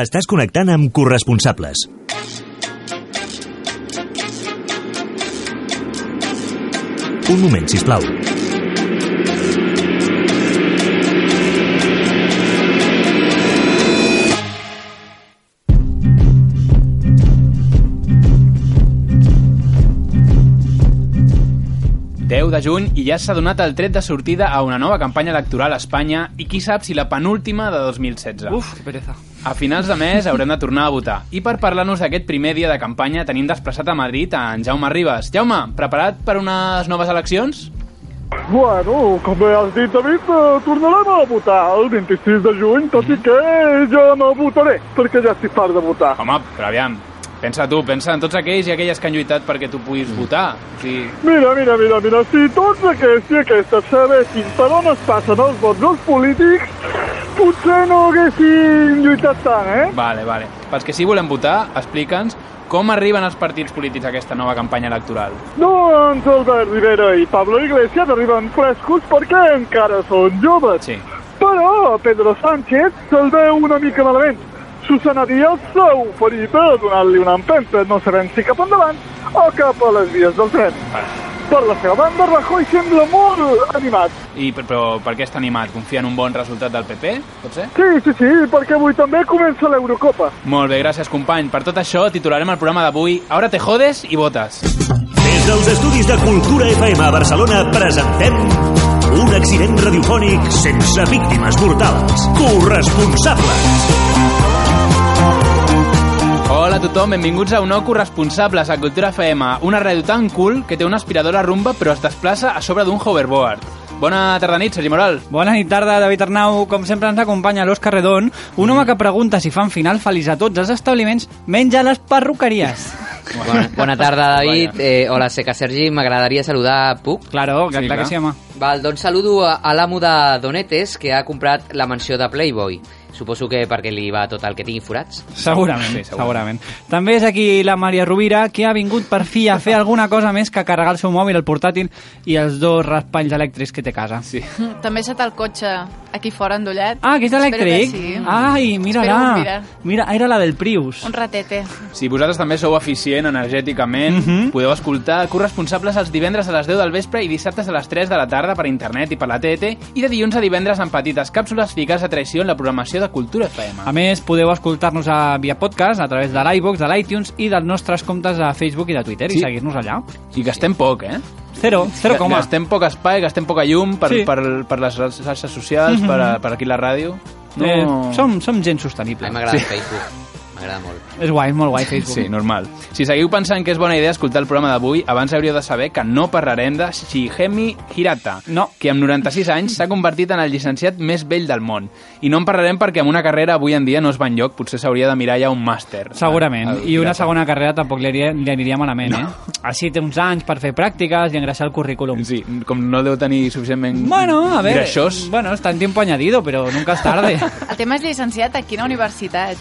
Estàs connectant amb corresponsables. Un moment, si plau. de juny i ja s'ha donat el tret de sortida a una nova campanya electoral a Espanya i qui sap si la penúltima de 2016. Uf, que pereza. A finals de mes haurem de tornar a votar. I per parlar-nos d'aquest primer dia de campanya tenim desplaçat a Madrid a en Jaume Ribas. Jaume, preparat per unes noves eleccions? Bueno, com bé has dit, David, eh, tornarem a votar el 26 de juny, tot i que jo no votaré, perquè ja estic fart de votar. Home, però aviam, pensa tu, pensa en tots aquells i aquelles que han lluitat perquè tu puguis votar. O sigui, Mira, mira, mira, mira, si tots aquests i aquestes sabessin per on es passen els vots dels polítics, potser no haguessin lluitat tant, eh? vale, vale. Pels que sí volem votar, explica'ns com arriben els partits polítics a aquesta nova campanya electoral. Doncs Albert Rivera i Pablo Iglesias arriben frescos perquè encara són joves. Sí. Però a Pedro Sánchez se'l veu una mica malament. Susana Díaz s'ha oferit a donar-li una empenta, no sabem si cap endavant o cap a les vies del tren. Per la seva banda, Rajoy sembla molt animat. I, però, però per què està animat? Confia en un bon resultat del PP, pot ser? Sí, sí, sí, perquè avui també comença l'Eurocopa. Molt bé, gràcies, company. Per tot això, titularem el programa d'avui Ahora te jodes i votes. Des dels estudis de Cultura FM a Barcelona presentem un accident radiofònic sense víctimes mortals. Corresponsables. Hola a tothom, benvinguts a un nou corresponsables a Cultura FM, una ràdio tan cool que té una aspiradora rumba però es desplaça a sobre d'un hoverboard. Bona tarda nit, Sergi Moral. Bona nit, tarda, David Arnau. Com sempre ens acompanya l'Òscar Redon, un home que pregunta si fan final feliç a tots els establiments, menys a les perruqueries. Bona, bona tarda, David. Eh, hola, Seca Sergi. M'agradaria saludar a Puc. Claro, Sí, sí, clar clar. que sí, home. Val, doncs saludo a, a l'amo de Donetes, que ha comprat la mansió de Playboy. Suposo que perquè li va tot el que tingui forats. Segurament, Sí, sí, segurament. segurament. També és aquí la Maria Rovira, que ha vingut per fi a fer alguna cosa més que carregar el seu mòbil, el portàtil i els dos raspalls elèctrics que té a casa. Sí. Mm, També he estat el cotxe aquí fora, endollat. Ah, que és elèctric? Espero que sí. Ai, Espero que mira-la. mira. Mira, era la del Prius. Un ratete. Si vosaltres també sou eficient energèticament, Mhm. podeu escoltar corresponsables els divendres a les 10 del vespre i dissabtes a les 3 de la tarda per internet i per la TET i de dilluns a divendres en petites càpsules ficades a traïció en la programació de Cultura FM. A més, podeu escoltar-nos a via podcast a través de l'iVox, de l'iTunes i dels nostres comptes a Facebook i de Twitter Sí. i seguir-nos allà. I gastem poc, eh? Zero, zero Ga- coma. Gastem poc espai, gastem poca llum per, Sí. Mhm. per, per les xarxes socials, per, a- per aquí la ràdio. No... Eh, som, som gent A mi sostenible. m'agrada sí. Facebook. M'agrada molt. És guai, és molt guai Facebook. Sí, normal. Si seguiu pensant que és bona idea escoltar el programa d'avui, abans hauríeu de saber que no parlarem de Shigemi Hirata, No. que amb 96 anys s'ha convertit en el llicenciat més vell del món. I no en parlarem perquè amb una carrera avui en dia no es va enlloc, potser s'hauria de mirar ja un màster. Ah, Segurament. Al- al I una Hirata. segona carrera tampoc li aniria, li aniria malament, eh? Així té uns anys per fer pràctiques i engreixar el currículum. Sí, com no deu tenir suficientment Bueno, a ver. greixós, Bueno, está en tiempo añadido, pero nunca es tarde. El tema és llicenciat a quina universitat?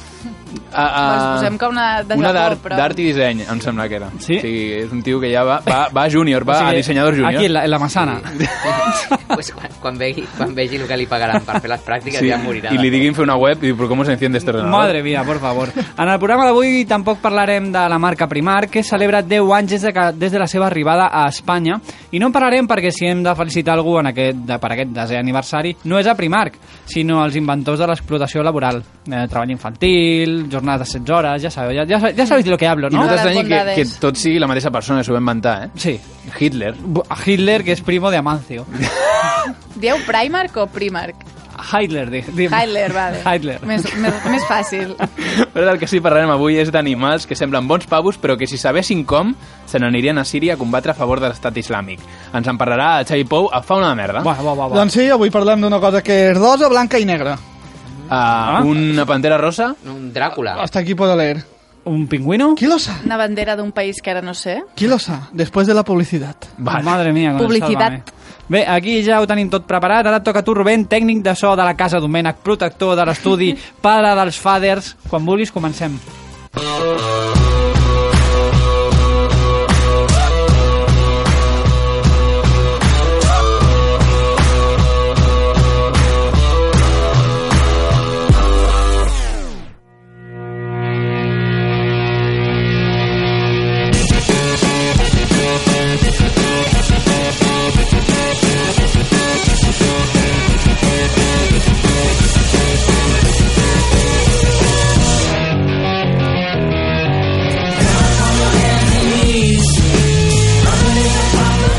a, a... Ah. Bueno, suposem que una Ah, de una Japó, d'art però- d'art i disseny, em sembla que era. Sí? O sigui, és un tio que ja va, va, va a júnior, va O sigui, a dissenyador júnior. Aquí, en la, en la masana. pues quan, quan, vegi, quan vegi el que li pagaran per fer les pràctiques sí, ja morirà. I li diguin fer una web i diu, però com s'enciende este ordenador? Madre mía, por favor. En el programa d'avui tampoc parlarem de la marca Primar, que celebra 10 anys des de, que, des de la seva arribada a Espanya. I no en parlarem perquè si hem de felicitar algú en aquest, de, per aquest desè aniversari, no és a Primark, sinó als inventors de l'explotació laboral. Eh, treball infantil, jornades de 16 hores, ja sabeu, ja, ja, sa- ja sabeu de lo que hablo, I no no? Nosaltres- t'estranyi que, Bondades. que tot sigui la mateixa persona, s'ho va inventar, eh? Sí. Hitler. Bu- Hitler, que és primo de Amancio. Dieu Primark o Primark? Hitler, di- di- Hitler, vale. Hitler. Més, més, més fàcil. Però del que sí que parlarem avui és d'animals que semblen bons pavos, però que si sabessin com, se n'anirien a Síria a combatre a favor de l'estat islàmic. Ens en parlarà el Xavi Pou a Fa una merda. Buah, buah, buah, buah. Doncs sí, avui parlem d'una cosa que és rosa, blanca i negra. Ah? A una pantera rosa? Un Dràcula. Hasta aquí puedo leer. ¿Un pingüino? ¿Quién lo sabe? Una bandera d'un país que ara no sé. ¿Quién lo sabe? Después de la publicidad. Vale. Madre mia, com Publicitat. Sálvame. Bé, aquí ja ho tenim tot preparat. Ara et toca a tu, Rubén, tècnic de so de la casa Domènec, protector de l'estudi, pare dels faders. Quan vulguis, comencem.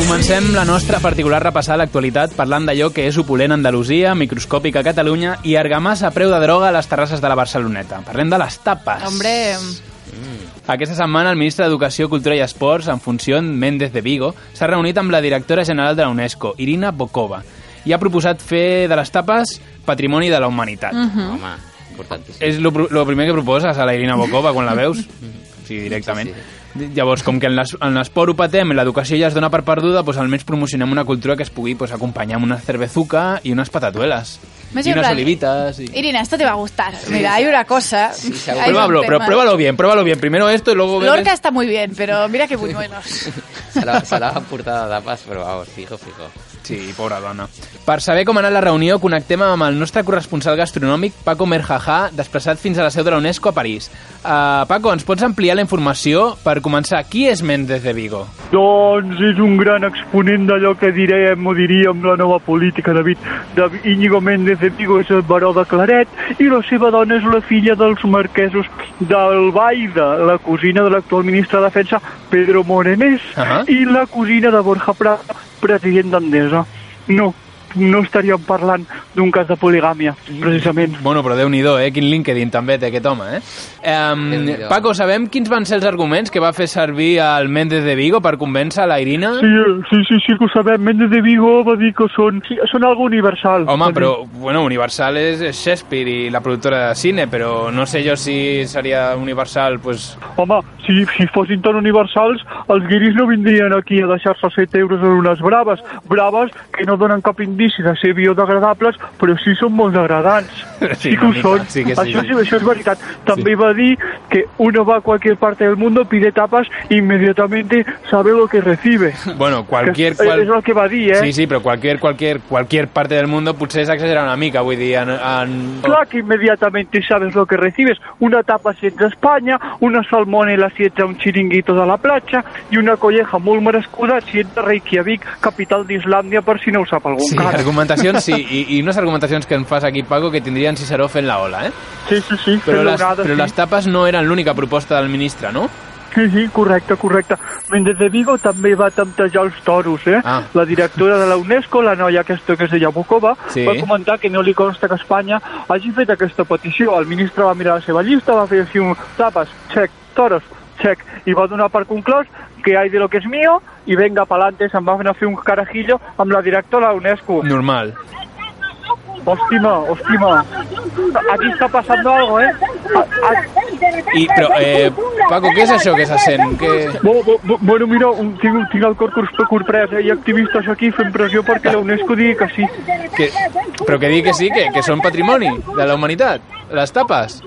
Comencem la nostra particular repassada a l'actualitat parlant d'allò que és opulent a Andalusia, microscòpic a Catalunya i argamassa a preu de droga a les terrasses de la Barceloneta. Parlem de les tapes. Hombre, Aquesta setmana el ministre d'Educació, Cultura i Esports, en funció, Méndez de Vigo, s'ha reunit amb la directora general de la UNESCO, Irina Bokova, i ha proposat fer de les tapes patrimoni de la humanitat. Mm. Mhm. Home, importantíssim. És lo, lo primer que proposes a la Irina Bokova quan la veus? Sí, directament. Sí, Llavors, com que en l'es- en l'esport ho patem, en l'educació ja es dona per perduda, doncs almenys promocionem una cultura que es pugui doncs, acompanyar amb una cervezuca i unes patatuelas. M'has I unes semblat- olivitas. I... Irina, esto te va a gustar. Mira, hay una cosa. segur. hay un Pruébalo, pero tema. pruébalo bien, pruébalo bien. Primero esto y luego... ves- Lorca está muy bien, pero mira qué buñuelos. Se la, se la van portar de tapes, però vamos, fijo, fijo. Sí, pobra dona. Per saber com ha anat la reunió, connectem amb el nostre corresponsal gastronòmic, Paco Merjajá, desplaçat fins a la seu de la UNESCO a París. Uh, Paco, ens pots ampliar la informació? Per començar, qui és Méndez de Vigo? Doncs és un gran exponent d'allò que direm, o diríem, la nova política, David. De Íñigo Méndez de Vigo és el baró de Claret i la seva dona és la filla dels marquesos d'Albaida, la cosina de l'actual ministre de Defensa, Pedro Morenés, uh Ahà. -huh. i la cosina de Borja Prada, president d'Andesa. No, no estaríem parlant d'un cas de poligàmia, precisament. Mm. Bueno, però déu nhi eh? Quin LinkedIn també té aquest home, eh? Um, Déu-n'hi-do. Paco, sabem quins van ser els arguments que va fer servir el Méndez de Vigo per convèncer la Irina? Sí, sí, sí, sí que ho sabem. Méndez de Vigo va dir que són, sí, són algo universal. Doncs Va Home, dir. però, bueno, Universal és és Shakespeare i la productora de cine, però no sé jo si seria Universal, pues, Home, si, si fossin tan universals, els guiris no vindrien aquí a deixar-se els 7 euros en unes braves. Braves que no donen cap indici de ser biodegradables, però sí són molt degradants. Sí, sí que ho una mica, són. sí que sí, això, sí. sí, això és veritat. També va dir que uno va a cualquier parte del mundo, pide tapas, inmediatamente sabe lo que recibe. Bueno, cualquier... Que és el que va dir, eh? Sí, sí, però qualquer, qualquer, qualquier parte del mundo potser és exagerar una mica, vull dir, en... en... Claro que inmediatamente sabes lo que recibes. Una tapa si ets a Espanya, una salmonela si ets a un chiringuito de la platja i una colleja molt merescuda si ets a Reykjavik, capital d'Islàndia, per si no ho sap algú Sí, encara. argumentacions, sí, i, i unes argumentacions que em fas aquí, Paco, que tindrien Ciceró fent la ola, eh? Sí, sí, sí. Però, fent les, onades, però sí. les tapes no eren l'única proposta del ministre, no? Sí, sí, correcte, correcte. Mendes de Vigo també va temptejar els toros, eh? Ah. La directora de la UNESCO, la noia aquesta que es deia Bukova, Sí. va comentar que no li consta que Espanya hagi fet aquesta petició. El ministre va mirar la seva llista, va fer així un tapes, check, toros, check, i va donar per conclòs que hay de lo que es mío i venga pa'lante, se'n va anar a fer un carajillo amb la directora de la UNESCO. Normal. Hòstima, hòstima. Aquí està passant algo, eh? A, a, I, però, eh, Paco, què és això que se sent? Que... Bo, bo, bo, bueno, mira, un, tinc, tinc el cor curs- corprès, eh? Hi ha activistes aquí fent pressió perquè la UNESCO digui que sí. que... Però que digui que sí, que, que són patrimoni de la humanitat, les tapes.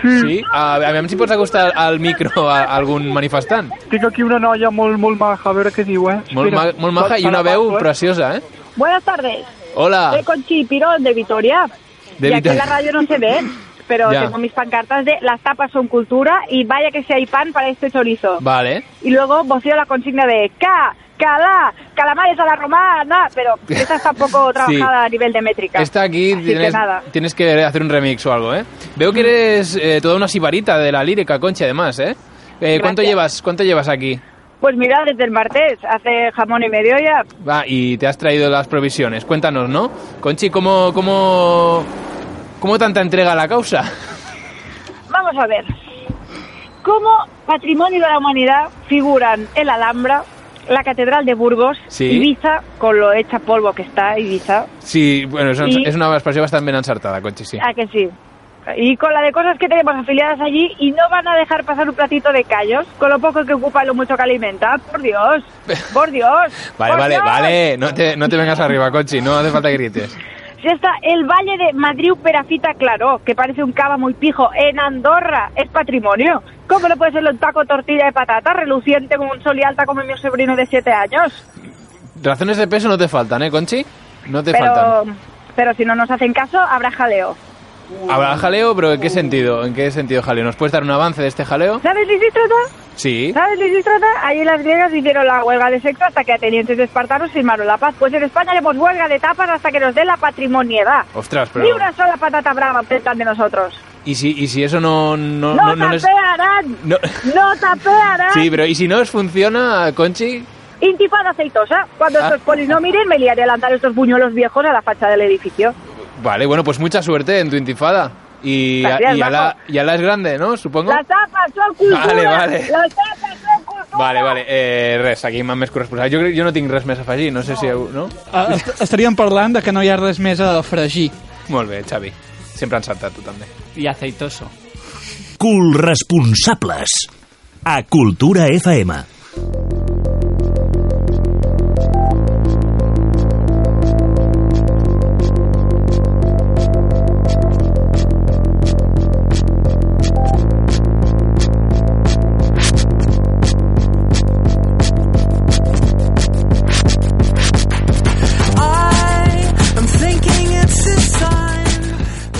Sí, Sí? A, a veure si pots acostar al micro a, algun manifestant. tinc aquí una noia molt, molt maja, a veure què diu, eh? Molt, ma, molt maja i una veu preciosa, eh? Buenas tardes. Hola. Soy Conchi Piro de Vitoria. Ah. De y aquí en Vitoria. la radio no se ve, pero Ya. tengo mis pancartas de las tapas son cultura y vaya que si hay pan para este chorizo. Vale. Y luego voceo la consigna de ca, calá, calamares a la romana, pero esa está poco trabajada a nivel de métrica. Está aquí, Así tienes que nada. tienes que hacer un remix o algo, ¿eh? Veo que eres eh, toda una sibarita de la lírica, Concha, además, ¿eh? Eh, ¿cuánto, Gracias. llevas, ¿Cuánto llevas aquí? Pues mira, desde el martes hace jamón y medio ya. Va, Ah, y te has traído las provisiones. Cuéntanos, ¿no? Conchi, ¿cómo, cómo, cómo tanta entrega a la causa? Vamos a ver. Como patrimonio de la humanidad figuran el Alhambra, la Catedral de Burgos, Sí. Ibiza, con lo hecha polvo que está Ibiza, Sí, bueno, es, Sí. es una expresión bastante bien ensartada, Conchi, sí. ¿A que sí? Y con la de cosas que tenemos afiliadas allí y no van a dejar pasar un platito de callos con lo poco que ocupa y lo mucho que alimenta. Por Dios, por Dios. Vale, por vale, Dios. vale. No te, no te vengas arriba, Conchi, no hace falta que grites. Si está el Valle de Madrid Perafita Claro, que parece un cava muy pijo, en Andorra es patrimonio. ¿Cómo no puede ser un taco tortilla de patata reluciente como un sol y alta como mi sobrino de 7 años? Razones de peso no te faltan, ¿eh, Conchi? No te Pero, faltan. pero si no nos hacen caso, habrá jaleo. ¿Habrá jaleo, pero en qué sentido? ¿En qué sentido jaleo? ¿Nos puedes dar un avance de este jaleo? ¿Sabes de qué se trata? Sí. ¿Sabes de qué se trata? Ahí las griegas hicieron la huelga de sexo hasta que atenienses de espartanos firmaron la paz. Pues en España haremos huelga de tapas hasta que nos dé la patrimoniedad. Ostras, Ni pero... una sola patata brava apretan de nosotros. ¿Y si, y si eso no... No, ¡No, no, no les- tapearán! no- ¡No tapearán! Sí, pero ¿y si no os funciona, Conchi? Intifada aceitosa. Cuando Ah. estos polis no miren, me liaré a lanzar estos buñuelos viejos a la facha del edificio. Vale, bueno, pues mucha suerte en tu intifada. Y, Gracias, y ala, Paco. y ala es grande, ¿no? Supongo. Las tapas son cultura. Vale, vale. Las tapas son cultura. Vale, vale, eh, res, aquí m'han més corresponsal. Jo, crec- jo no tinc res més a afegir, no sé si... heu- No? Ah, est- Estaríem parlant de que no hi ha res més a fregir. Molt bé, Xavi. Sempre encertat, tu també. Y aceitoso. Corresponsables. A Cultura FM.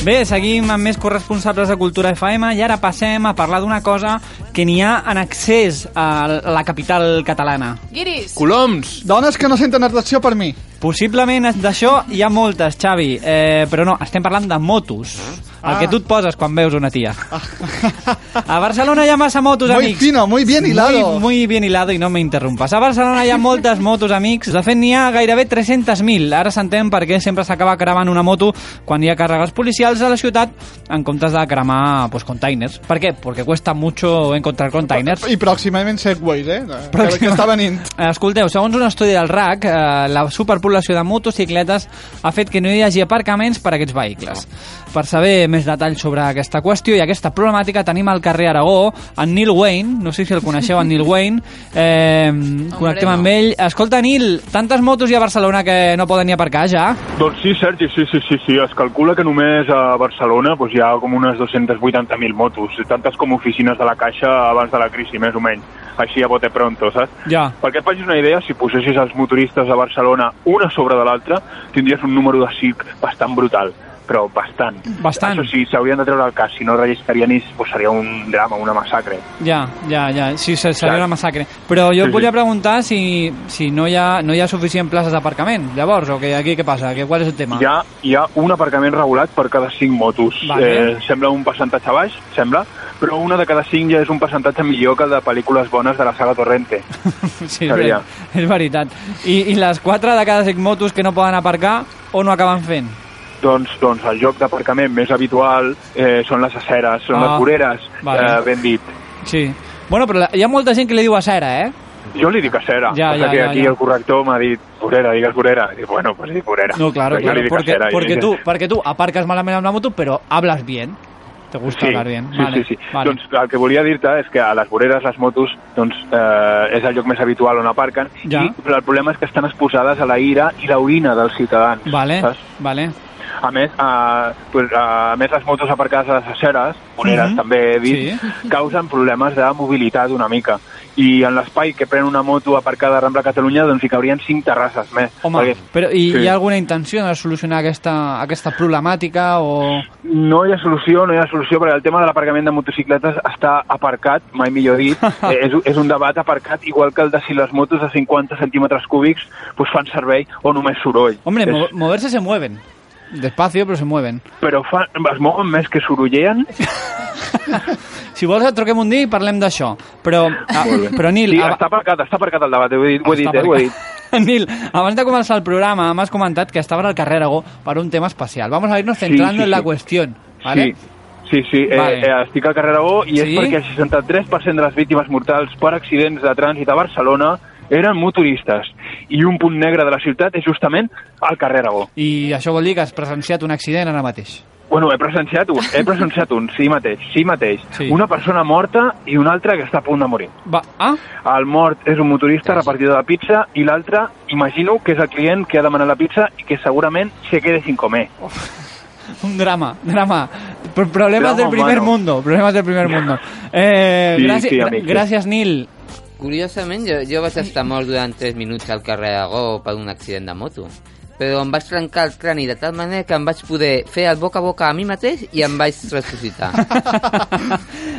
Bé, seguim amb més corresponsables de Cultura FM i ara passem a parlar d'una cosa que n'hi ha en accés a la capital catalana. Guiris, Coloms! Dones que no senten atracció per mi. Possiblement d'això hi ha moltes, Xavi, eh, però no, estem parlant de motos. El Ah. que tu et poses quan veus una tia. A Barcelona hi ha massa motos, Muy amics. fino, muy bien hilado. Muy, muy bien hilado i no m'interrompas. A Barcelona hi ha moltes motos, amics. De fet, n'hi ha gairebé 300.000. Ara s'entén per què sempre s'acaba cremant una moto quan hi ha càrregues policials a la ciutat en comptes de cremar pues, containers. Per què? Perquè cuesta mucho encontrar containers. I pròximament Segways, eh? Però Que, que està venint. Eh, Escolteu, segons un estudi del RAC, eh, la superpoblació de motocicletes ha fet que no hi hagi aparcaments per a aquests vehicles. Per saber més detalls sobre aquesta qüestió i aquesta problemàtica tenim al carrer Aragó en Neil Wayne, no sé si el coneixeu, en Neil Wayne, eh, connectem amb ell. Escolta, Neil, tantes motos hi ha a Barcelona que no poden ni aparcar ja? Doncs sí, Sergi, sí, sí, sí, sí. Es calcula que només a Barcelona doncs, hi ha com unes 280.000 motos, tantes com oficines de la Caixa abans de la crisi, més o menys. Així a bote pronto, saps? Ja. Perquè et facis una idea, si posessis els motoristes a Barcelona una sobre de l'altra, tindries un número de circ bastant brutal, però bastant. Bastant. Això sí, s'haurien de treure el cas, si no registraríanis, doncs seria un drama, una massacre. Ja, ja, ja, sí, se- seria Clar. una massacre. Però Sí, jo et sí. volia preguntar si, si no, hi ha, no hi ha suficient places d'aparcament, llavors, o que aquí què passa? Que, qual és el tema? Hi ha, hi ha un aparcament regulat per cada 5 motos. Vale. Eh, sembla un percentatge baix, sembla, però una de cada 5 ja és un percentatge millor que el de pel·lícules bones de la saga Torrente. Sí, és, Sabia. veritat, és veritat. I, I les 4 de cada 5 motos que no poden aparcar o no acaben fent? doncs, doncs el lloc d'aparcament més habitual eh, són les aceres, són Ah. les voreres, Vale. eh, ben dit. Sí. Bueno, però la, hi ha molta gent que li diu a Sera, eh? Jo li dic acera, Ja, passa ja, que ja, aquí ja. el corrector m'ha dit vorera, digues vorera. I, dic, bueno, pues dic vorera. No, claro, Però jo claro. li dic Porque, acera, i porque, dic- tú, porque tú aparcas malament amb la moto, però hablas bien. Te gusta hablar bien. sí, vale, sí, sí. Vale. Doncs el que volia dir-te és que a les voreres les motos doncs, eh, és el lloc més habitual on aparquen Ja. i però el problema és que estan exposades a la ira i la orina dels ciutadans. Vale, saps? vale. A més, eh, pues, a més, les motos aparcades a les aceres, voreres Mhm. també he dit, causen problemes de mobilitat una mica. I en l'espai que pren una moto aparcada a Rambla Catalunya doncs hi cabrien cinc terrasses més. Home, Perquè però hi, Sí. hi ha alguna intenció de solucionar aquesta, aquesta problemàtica o... No hi ha solució, no hi ha solució, perquè el tema de l'aparcament de motocicletes està aparcat, mai millor dit. Eh, és, és un debat aparcat, igual que el de si les motos de 50 centímetres cúbics pues, fan servei o només soroll. Hombre, mo- és, moverse se mueven. Despacio, però se mueven. però fa, es mouen més que sorolleen. Si vols et truquem un dia i parlem d'això. Però, ah, però Nil, Sí, a- està aparcat, està aparcat el debat, ho he dit, ho he dit, eh, ho he dit. Nil, abans de començar el programa m'has comentat que estaves al carrer Aragó per un tema especial. Vamos a irnos centrando Sí, sí, en la sí. cuestión, ¿vale? Sí. Sí, sí, Vale. eh, eh, estic al carrer Aragó i Sí? és perquè el 63% de les víctimes mortals per accidents de trànsit a Barcelona eren motoristes. I un punt negre de la ciutat és justament el carrer Aragó. I això vol dir que has presenciat un accident ara mateix. Bueno, he presenciat un, he presenciat un, sí mateix, sí mateix. Sí. Sí. Una persona morta i una altra que està a punt de morir. Va, ah, El mort és un motorista repartidor de pizza i l'altre, imagino, que és el client que ha demanat la pizza i que segurament se quede sin comer. un drama, drama. Pro- Problemas Drama del primer humano. mundo, problemas del primer mundo. Eh, Sí, gràcies, sí, amic, sí. gràcies, Nil. Curiosament, jo, jo vaig estar mort durant 3 minuts al carrer Aragó per un accident de moto. però em vaig trencar el crani de tal manera que em vaig poder fer el boca a boca a mi mateix i em vaig ressuscitar.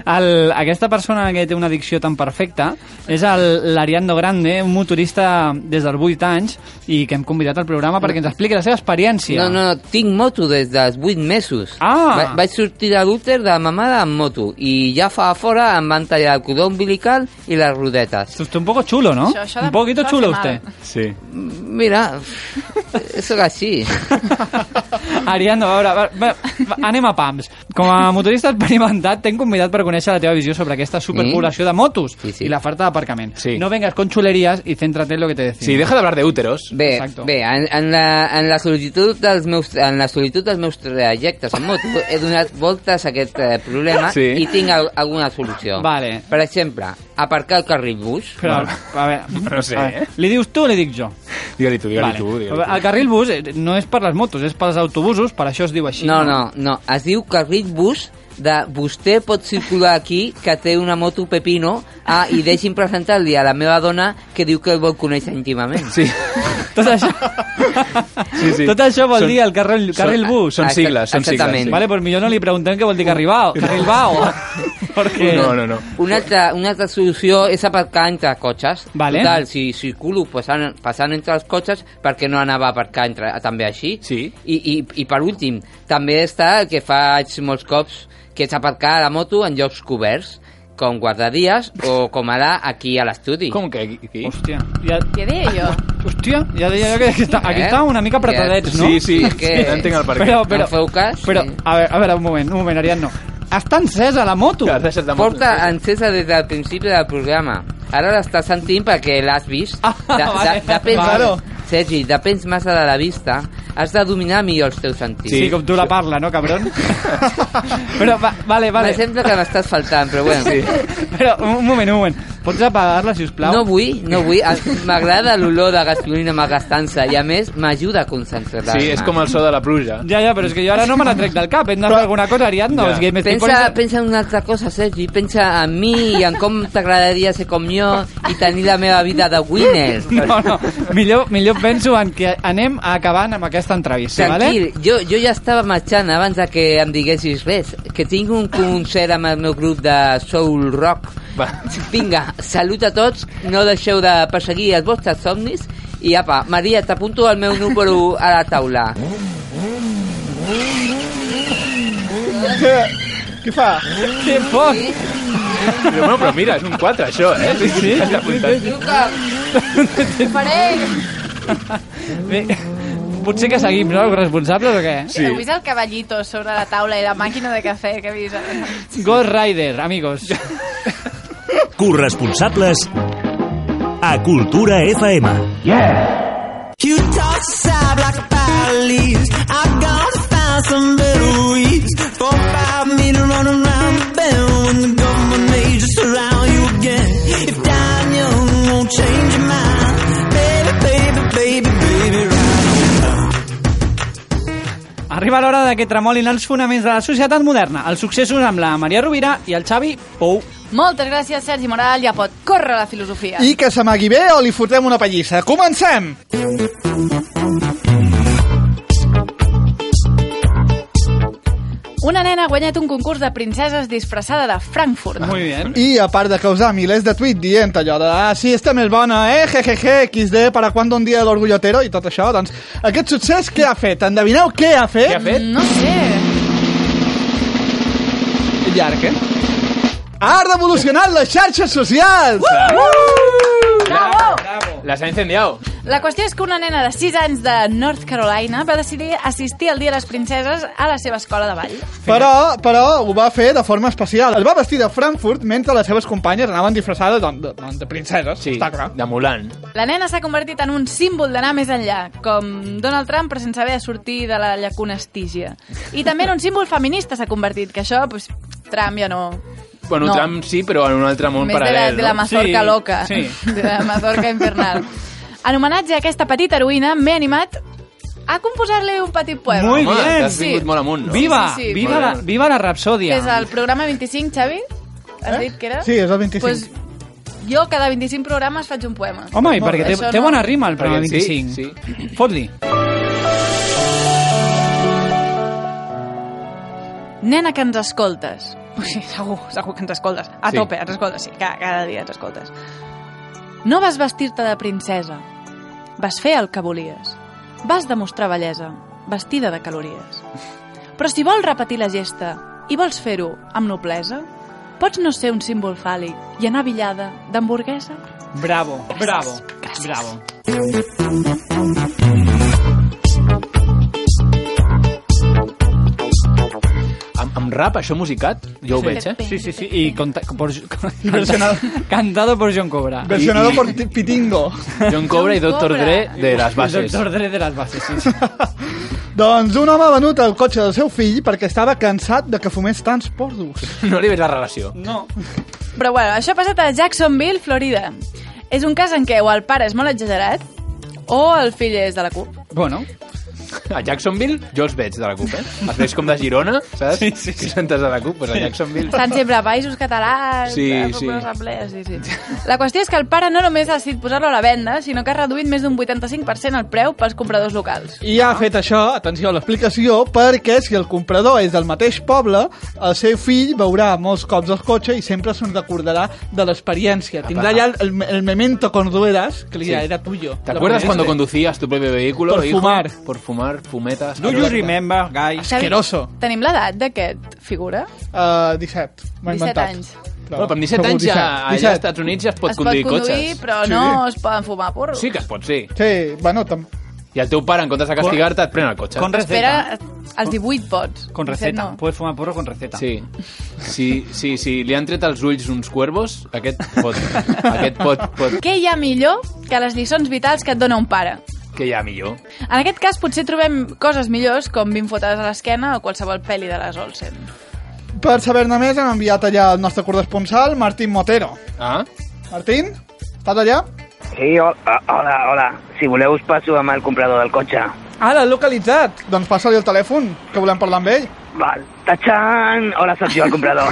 El, aquesta persona que té una dicció tan perfecta és el- l'Ariando Grande, un motorista des dels 8 anys i que hem convidat al programa perquè ens expliqui la seva experiència. No, no, no, tinc moto des dels 8 mesos. Ah! Va, vaig sortir de l'úter de la mamada amb moto i ja fa a fora em van tallar el cordó umbilical i les rodetes. Usted un poco chulo, ¿no? Això- això de- un poquito això chulo hace usted. Sí. Mira, eso era així. Ariando, a veure, va, va, va, anem a pams. Com a motorista experimentat, t'hem convidat per conèixer la teva visió sobre aquesta superpoblació de motos Sí, sí. i la falta d'aparcament. Mm. Sí. No vengas con chulerías i céntrate en lo que te decimos. Sí, deja de hablar de úteros. Bé, Exacto. bé en, en, la, en, la solitud dels meus, en la solitud dels meus trajectes en moto he donat voltes a aquest eh, problema Sí. i tinc al, alguna solució. Vale. Per exemple, aparcar al carril bus. Però, a veure, No sé, a veure, eh? Li dius tu o li dic jo? Digue-li tu, digue-li tu. Digue El carril bus eh, no és per les motos, és pels autobusos, per això es diu així. No, no, no. Es diu carril bus de vostè pot circular aquí que té una moto pepino ah, i deixi'm presentar-li a la meva dona que diu que el vol conèixer íntimament. Sí. Tot això, Sí, sí. Tot això vol Són- dir el carril, carril bus. Són Exact- sigles, són sigles. exactament. sí. Vale, pues millor no li preguntem què vol dir carribao. Carrilbao. Perquè... No, no, no. Una altra, una altra solució és aparcar entre cotxes. Vale. Total, si circulo passant, passant entre els cotxes, per què no anava a aparcar entre, també així? Sí. I, i, I per últim, també està el que faig molts cops, que és aparcar la moto en llocs coberts, com guardadies o com ara aquí a l'estudi. Com que aquí? aquí? Hòstia, ja, Què deia jo? hòstia, ja deia jo que aquí, està, aquí Eh? està una mica apretadets, no? Sí, sí, Sí, sí, que- no entenc el per què. Però, No però, feu cas? però, Sí. a veure, a veure, un moment, un moment, Ariadno. Està encesa la moto. Que has deixat de Porta encesa des del principi del programa. Ara l'està sentint perquè l'has vist. Ah, vale, claro. Sergi, depens massa de la vista. Has de dominar millor els teus sentits. Sí, com tu la parla, no, cabron? però, va, Vale. vale, vale. Sembla que m'estàs faltant, però bueno. Sí. Però, un moment, un moment. Pots apagar-la, si us plau? No vull, no vull. Ah, M'agrada l'olor de gasolina malgastant-se i, a més, m'ajuda a concentrar-me. Sí, és com el so de la pluja. Ja, ja, però és que jo ara no me la trec del cap. Hem de fer alguna cosa, Ariadno. Ja. És que m'estic Pensa, posant- pensa en una altra cosa, Sergi. Pensa en mi i en com t'agradaria ser com jo i tenir la meva vida de winner. No, no, millor, millor penso en que anem acabant amb aquesta entrevista, Tranquil, jo, jo ja estava marxant abans de que em diguessis res, que tinc un concert amb el meu grup de soul rock. Va. Vinga, salut a tots, no deixeu de perseguir els vostres somnis i apa, Maria, t'apunto el meu número a la taula. Què fa? vale? Que fort! Però, bueno, però mira, és un 4, això, eh? Sí, sí. Està apuntat. Truca, Ho faré! Bé, potser que seguim, no, els responsables o què? Sí. Heu vist el cavallito sobre la taula i la màquina de cafè que he vist? Ghost Rider, amigos. Corresponsables a Cultura FM. You toss aside like pallet leaves. I gotta find some better weeds. Four, five me to run around the bend when the government may just surround you again. If dying young won't change your mind, baby, baby, baby, baby, right Arriba l'hora de que tremolin els fonaments de la societat moderna. Els successos amb la Maria Rovira i el Xavi Pou. Moltes gràcies, Sergi Moral. Ja pot córrer la filosofia. I que s'amagui bé o li fotem una pallissa. Comencem! Una nena ha guanyat un concurs de princeses disfressada de Frankfurt. Muy bien. Ah, I a part de causar milers de tuits dient allò de ah, sí, està més bona, eh, jejeje, XD, para cuando un dia de l'orgullotero i tot això, doncs aquest succés què ha fet? Endevineu què ha fet? Què ha fet? No sé. Llarg, eh? Ha revolucionat les xarxes socials! Bravo! Las ha Oh! incendiado. La qüestió és que una nena de 6 anys de North Carolina va decidir assistir al Dia de les Princeses a la seva escola de ball. Però, però ho va fer de forma especial. Es va vestir de Frankfurt mentre les seves companyes anaven disfressades de, de, doncs, de princeses, Sí, està clar. de Mulan. La nena s'ha convertit en un símbol d'anar més enllà, com Donald Trump però sense haver de sortir de la llacuna estígia. I també en un símbol feminista s'ha convertit, que això, doncs, Trump ja no... Bueno, No. Trump sí, però en un altre món Més de la, paral·lel. de la no? mazorca Sí, loca, sí. de la mazorca infernal. En homenatge a aquesta petita heroïna, m'he animat a composar-li un petit poema. Muy Home, bien. t'has vingut molt amunt, no? Viva, Sí, sí, sí. viva, la, viva la Que és rapsòdia. el programa 25, Xavi? Eh? Has dit que era? Sí, és el 25. Pues, jo cada 25 programes faig un poema. Home, i perquè té, Això té no. bona rima el programa Perquè Ah, sí, 25. Fot-li. Sí. Nena que ens escoltes. Ui, sí, segur, segur que ens escoltes. A Sí. tope, ens escoltes, sí, cada, cada dia ens escoltes. No vas vestir-te de princesa. Vas fer el que volies. Vas demostrar bellesa, vestida de calories. Però si vols repetir la gesta i vols fer-ho amb noblesa, pots no ser un símbol fàl·lic i anar billada d'hamburguesa? Bravo, bravo, bravo. Amb, amb rap, això musicat? Jo ho veig, eh? Sí, sí, sí. I conta- por, versionado- cantado por John Cobra. Versionado por Ti- Pitingo. John Cobra i Dr. Dre de les bases. Doctor Dre de las bases, sí. sí. Doncs un home ha venut el cotxe del seu fill perquè estava cansat de que fumés tants porros. No li veig la relació. No. Però bueno, això ha passat a Jacksonville, Florida. És un cas en què o el pare és molt exagerat o el fill és de la CUP. Bueno, A Jacksonville jo els veig de la CUP, eh? Els veig com de Girona, saps? Sí, sí, sí. Que sentes de la CUP, doncs a Jacksonville... Estan sempre a països catalans, Sí, a sí. assemblea, sí, sí. La qüestió és que el pare no només ha decidit posar-lo a la venda, sinó que ha reduït més d'un 85% el preu pels compradors locals. I ha fet això, atenció a l'explicació, perquè si el comprador és del mateix poble, el seu fill veurà molts cops el cotxe i sempre se'n recordarà de l'experiència. Tindrà ja el, el, el memento cuando eras, que li Ah, dirà, Sí. era tuyo. ¿Te acuerdas cuando conducías tu propio vehículo? Por hijo? fumar. Por fumar, fumetas. do you remember, guys? Asqueroso. Tenim l'edat d'aquest figura? Uh, 17. M'ha 17 inventat. anys. Bueno, però amb 17 anys ja, allà als Estats Units ja es pot es conduir pot conduir, cotxes. però Sí. no es poden fumar porros. Sí que es pot, sí. Sí, bueno, tam... I el teu pare, en comptes de castigar-te, et pren el cotxe. Con receta. Espera, als 18 pots. Con 17 receta. No. Puedes fumar porro con receta. Sí. Sí, sí, sí. Li han tret els ulls uns cuervos, aquest pot... aquest pot... pot Què hi ha millor que les lliçons vitals que et dona un pare? que hi ha millor. En aquest cas potser trobem coses millors com 20 fotades a l'esquena o qualsevol pel·li de les Olsen. Per saber-ne més hem enviat allà el nostre corresponsal, Martín Motero. Ah? Martín, estàs allà? Sí, ho- ah, hola, hola. Si voleu us passo amb el comprador del cotxe. Ah, l'ha localitzat. Doncs passa-li el telèfon, que volem parlar amb ell. Val, tachan! Hola, sóc jo el comprador.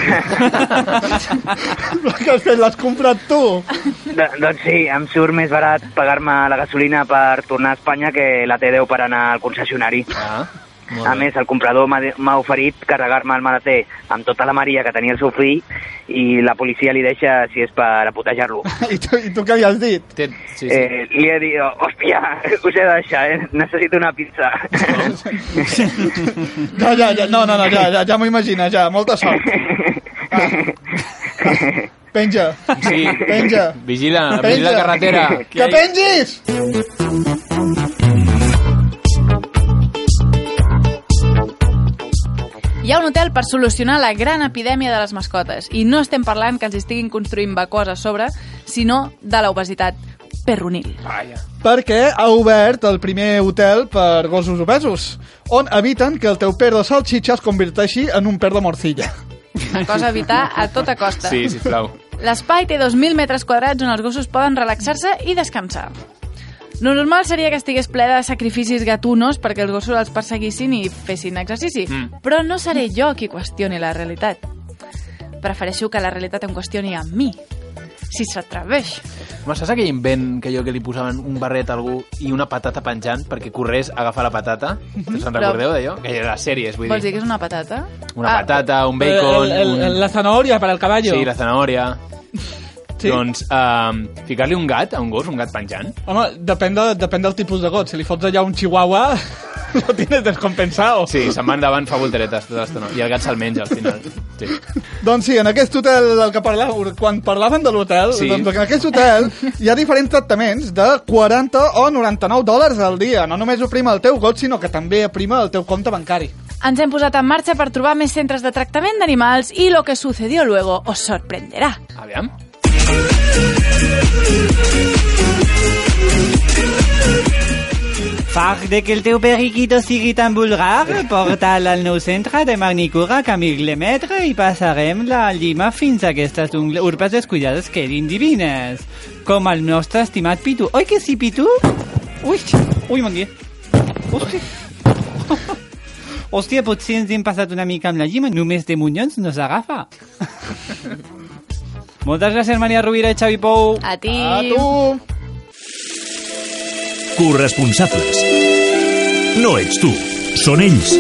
que has fet, l'has comprat tu. Do- doncs sí, em surt més barat pagar-me la gasolina per tornar a Espanya que la T10 per anar al concessionari. Ah? Molt A bé. més, el comprador m'ha de- m'ha oferit carregar-me el maleter amb tota la maria que tenia el seu fill i la policia li deixa si és per apotejar-lo. I tu, i tu què li has dit? Té... Sí, sí. Eh, li he dit, hòstia, us he de deixar, eh? necessito una pizza. Ja, ja, ja, no, no, no, ja, ja, ja m'ho imagino, ja, molta sort. Ah. Ah. Penja. Sí. Penja. Vigila, vigila la carretera. Que pengis! Hi ha un hotel per solucionar la gran epidèmia de les mascotes i no estem parlant que els estiguin construint vacós a sobre, sinó de l'obesitat perronil. Vaja. Perquè ha obert el primer hotel per gossos obesos, on eviten que el teu per de salxitxa es converteixi en un per de morcilla. Una cosa a evitar a tota costa. Sí, sisplau. L'espai té 2.000 metres quadrats on els gossos poden relaxar-se i descansar. Lo normal seria que estigués ple de sacrificis gatunos perquè els gossos els perseguissin i fessin exercici, Mm. però no seré jo qui qüestioni la realitat. Prefereixo que la realitat em qüestioni a mi, si s'atreveix. Home, saps aquell invent que allò que li posaven un barret a algú i una patata penjant perquè corrés a agafar la patata? Us en Però- recordeu d'allò? Que era les sèries, vull Mhm. Vols dir dir. que és una patata? Una patata, un bacon... Ah, El- el- el- un... la zanahoria per al caballo. Sí, la zanahòria. Sí. Doncs, uh, ficar-li un gat a un gos, un gat penjant. Home, depèn, de, depèn del tipus de got. Si li fots allà un chihuahua, lo tienes descompensado. Sí, se'n va endavant, fa volteretes tota l'estona. I el gat se'l menja, al final. Sí. Doncs sí, en aquest hotel del que parlàvem, quan parlaven de l'hotel, Sí. sí. doncs en aquest hotel hi ha diferents tractaments de 40 o 99 dòlars al dia. No només oprima el teu got, sinó que també aprima el teu compte bancari. Ens hem posat en marxa per trobar més centres de tractament d'animals i lo que sucedió luego os sorprenderá. Aviam. Far de que el teu periquito sigui tan vulgar, porta'l al nou centre de magnicura Camil Lemetre i passarem la llima fins a aquestes ungles- urpes descuidades que quedin divines. Com el nostre estimat Pitu. Oi que sí, Pitu? Ui, ui, mon dia. Hosti. Hòstia, potser ens hem passat una mica amb la llima, només de munyons no s'agafa. Moltes gràcies, Maria Rovira i Xavi Pou. A ti. A tu! Corresponsables. No ets tu, són ells.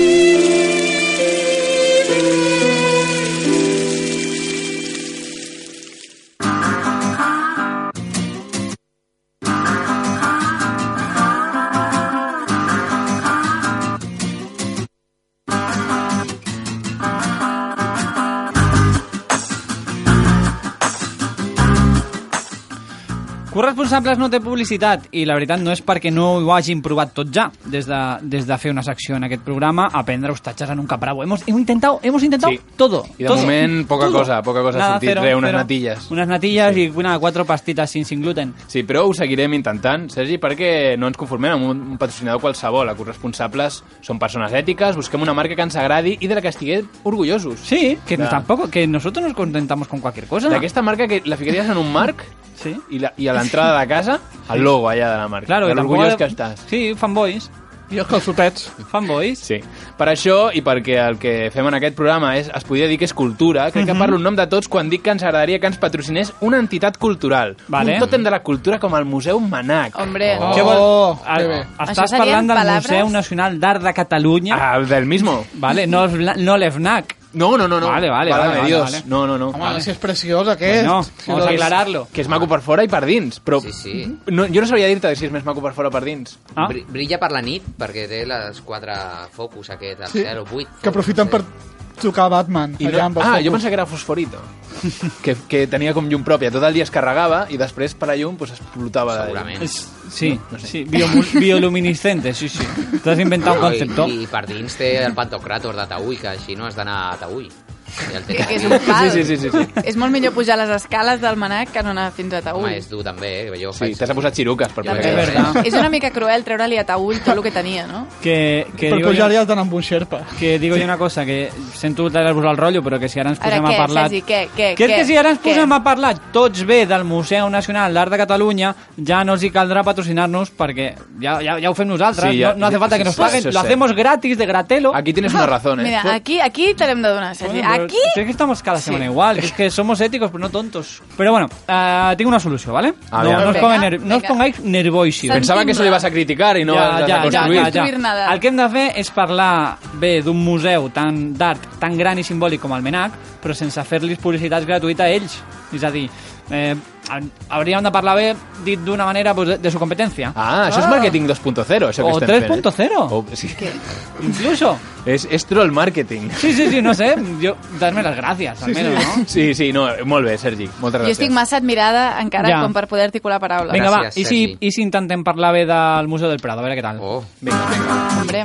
Corresponsables no té publicitat i la veritat no és perquè no ho hagin provat tot ja des de, des de fer una secció en aquest programa aprendre hostatges en un capravo. Hemos, hemos intentado, hemos intentado Sí. todo. I de todo, moment, poca todo. cosa, poca cosa. Nada, He sentit cero, re, unes cero. natilles. Unes natilles sí. i una, quatre pastitas sin, sin gluten. Sí, però ho seguirem intentant, Sergi, perquè no ens conformem amb un, un patrocinador qualsevol. A corresponsables són persones ètiques, busquem una marca que ens agradi i de la que estiguem orgullosos. Sí, que Nah. tampoco, que nosotros nos contentamos con cualquier cosa. D'aquesta marca que la ficaries en un marc Sí. i, la, i a l'entrada de casa el logo allà de la marca. Claro, de i tampoc- l'orgullós que estàs. Sí, fanboys. Jo que els sopets. Fanboys. Sí. Per això i perquè el que fem en aquest programa és, es podria dir que és cultura, crec Mhm. que parlo en nom de tots quan dic que ens agradaria que ens patrocinés una entitat cultural. Vale. Un tòtem de la cultura com el Museu Manac. Hombre, Oh, Què vol? Ah, Que bé. Això Estàs serien parlant del palabres? Museu Nacional d'Art de Catalunya, Ah, del mismo. vale? no, els bla- no l'EFNAC. No, no, no. no. Vale, vale, Válgame vale, vale, Dios. vale. No, no, no. Home, si és preciós aquest. No, Si vamos a no és- aclararlo. Que és maco per fora i per dins, però... Sí, sí. No, jo no sabria dir-te si és més maco per fora o per dins. Ah. Bri- Brilla per la nit, perquè té les quatre focus aquest, el Sí, 0, 8... Que aprofiten per tocar Batman. I no, allà amb els ah, jo focus. pensava que era fosforito. que, que tenia com llum pròpia. Tot el dia es carregava i després per la llum pues, explotava. de llum. Segurament. És- Sí, sí, biomu- bioluminiscente, sí, sí. T'has inventat un concepte. I, I per dins té el pantocrator de Taüll, que així no has d'anar a Taüll. I el té que, que és aquí. un pal. Sí, sí, sí, sí, sí. És molt millor pujar les escales del manac que no anar fins a Taüll. Home, és dur també, eh? Jo Sí, faig- t'has posat xiruques Pues per Jo poder faig- quedar. veritat. És una mica cruel treure-li a Taüll tot el que tenia, no? Que, que, Per digo, pujar-hi jo, has d'anar amb un xerpa. que digo jo una cosa, que sento tallar-vos el rotllo, però que si ara ens Ara posem què, a parlar... Sergi, què, què, que és què, que si ara ens què? posem a parlar tots bé del Museu Nacional d'Art de Catalunya, ja no els hi caldrà patrocinar-nos perquè ja, ja, ja ho fem nosaltres, Sí, ja- no, no hace falta que nos sí, sí, paguen, sí, lo sí. hacemos gratis de gratelo. Aquí tienes una razón, eh? Mira, aquí, aquí te l'hem de donar, Sergi. Bueno, pero Aquí... Es que estamos cada semana igual, que es que somos éticos, pero no tontos. Pero bueno, ah, tengo una solución, ¿vale? A no, ver, a no os ver. ponga Venga, ner- no os venga. pongáis nervoisios. Santi Pensava que això li vas a criticar i no vas a construir. ja, ja. construir nada. El que hem de fer és parlar bé d'un museu tan d'art tan gran i simbòlic com el Menac, però sense fer-los publicitat gratuïta a ells. És a dir, eh, hauríem de parlar bé, dit d'una manera, pues, de, de su competència. Ah, això és marketing 2.0, això que O estem fent. eh? 3.0. O, sí. Incluso. És, és troll marketing. Sí, sí, sí, no sé. Jo, darme les gràcies, almenys, sí. no? Sí, sí, no, molt bé, Sergi, moltes Jo gràcies. estic massa admirada encara Ja. com per poder articular paraules. Vinga, va, Gràcies, i si, Sergi. i si intentem parlar bé del Museu del Prado, a veure què tal. Oh, Hombre.